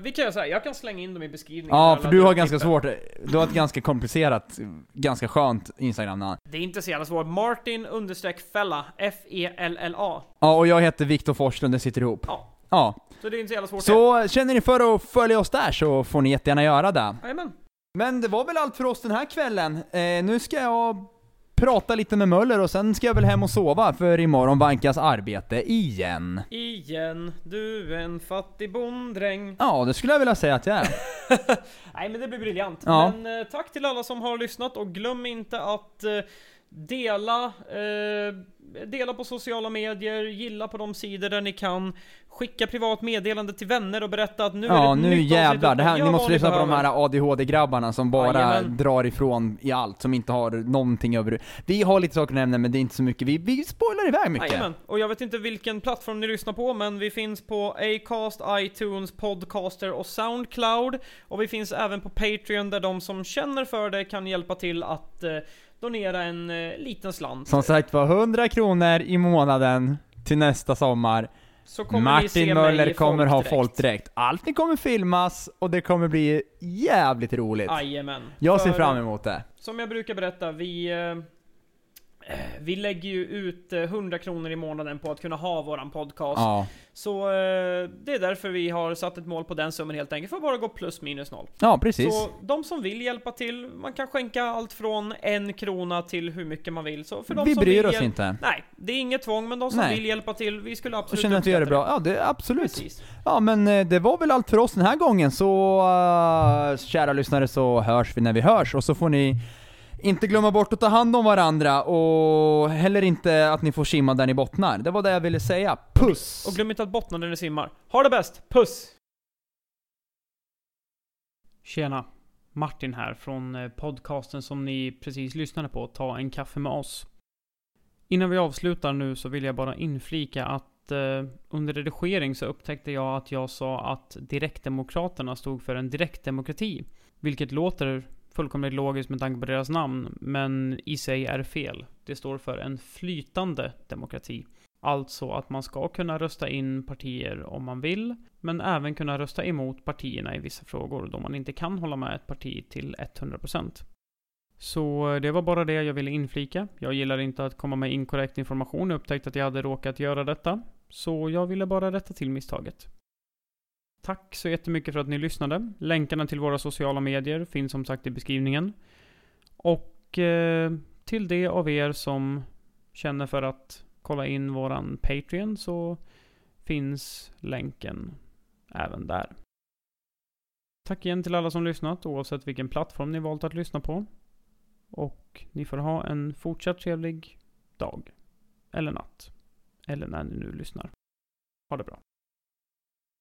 B: vi kan göra så här. jag kan slänga in dem i beskrivningen.
A: Ja,
B: Alla
A: för du har
B: där
A: ganska
B: klippen.
A: svårt, du har ett ganska komplicerat, ganska skönt Instagram-namn.
B: Det är inte så jävla svårt. Martin understreck E fella. F-E-L-L-A.
A: Ja, och jag heter Viktor Forslund, det sitter ihop.
B: Ja.
A: Ja.
B: Så det är inte så jävla svårt.
A: Så känner ni för att följa oss där så får ni jättegärna göra det.
B: Jajamän.
A: Men det var väl allt för oss den här kvällen. Eh, nu ska jag prata lite med Möller och sen ska jag väl hem och sova för imorgon vankas arbete igen.
B: Igen, du är en fattig bonddräng.
A: Ja, det skulle jag vilja säga att jag är.
B: Nej men det blir briljant.
A: Ja.
B: Men eh, tack till alla som har lyssnat och glöm inte att eh, Dela, eh, dela på sociala medier, gilla på de sidor där ni kan. Skicka privat meddelande till vänner och berätta att nu är det
A: Ja
B: ett
A: nu
B: nytt avsnitt
A: jävlar,
B: uppe.
A: det här,
B: Gör
A: ni
B: vad
A: måste
B: ni
A: lyssna på de
B: behöver.
A: här ADHD-grabbarna som bara
B: Jajamän.
A: drar ifrån i allt, som inte har någonting över... Vi har lite saker att nämna men det är inte så mycket, vi, vi spoilar iväg mycket.
B: Jajamän. Och jag vet inte vilken plattform ni lyssnar på, men vi finns på Acast, iTunes, Podcaster och Soundcloud. Och vi finns även på Patreon där de som känner för det kan hjälpa till att eh, donera en eh, liten slant.
A: Som sagt var, 100 kronor i månaden till nästa sommar.
B: Så kommer ni se
A: Martin
B: mig i
A: Möller kommer ha
B: folkdräkt.
A: folkdräkt. Allt ni kommer filmas och det kommer bli jävligt roligt.
B: Jajamän.
A: Jag ser
B: För,
A: fram emot det.
B: Som jag brukar berätta, vi... eh, Vi lägger ju ut eh, 100 kronor i månaden på att kunna ha våran podcast.
A: Ja.
B: Så eh, det är därför vi har satt ett mål på den summan helt enkelt, för att bara gå plus minus noll.
A: ja, precis.
B: Så de som vill hjälpa till, man kan skänka allt från en krona till hur mycket man vill. Så för de
A: vi
B: som
A: bryr
B: vill
A: oss
B: hjäl-
A: inte.
B: Nej, det är inget tvång, men de som
A: Nej.
B: vill hjälpa till, vi skulle
A: Och
B: absolut
A: känner att vi gör det
B: uppskatta
A: bra. Ja, det, absolut.
B: Precis.
A: Ja, men eh, det var väl allt för oss den här gången, så eh, kära lyssnare så hörs vi när vi hörs och så får ni inte glömma bort att ta hand om varandra och heller inte att ni får simma där ni bottnar. Det var det jag ville säga. Puss!
B: Och glöm inte att bottna när ni simmar. Ha det bäst, puss! Tjena! Martin här från eh, podcasten som ni precis lyssnade på, Ta en kaffe med oss. Innan vi avslutar nu så vill jag bara inflika att eh, under redigering så upptäckte jag att jag sa att Direktdemokraterna stod för en direktdemokrati. Vilket låter fullkomligt logiskt med tanke på deras namn, men i sig är fel. Det står för en flytande demokrati. Alltså att man ska kunna rösta in partier om man vill, men även kunna rösta emot partierna i vissa frågor då man inte kan hålla med ett parti till 100%. Så eh, det var bara det jag ville inflika. Jag gillar inte att komma med inkorrekt information och upptäckte att jag hade råkat göra detta. Så jag ville bara rätta till misstaget. Tack så jättemycket för att ni lyssnade. Länkarna till våra sociala medier finns som sagt i beskrivningen. Och eh, till det av er som känner för att kolla in våran Patreon så finns länken även där. Tack igen till alla som lyssnat oavsett vilken plattform ni valt att lyssna på. Och ni får ha en fortsatt trevlig dag. Eller natt. Eller när ni nu lyssnar. Ha det bra.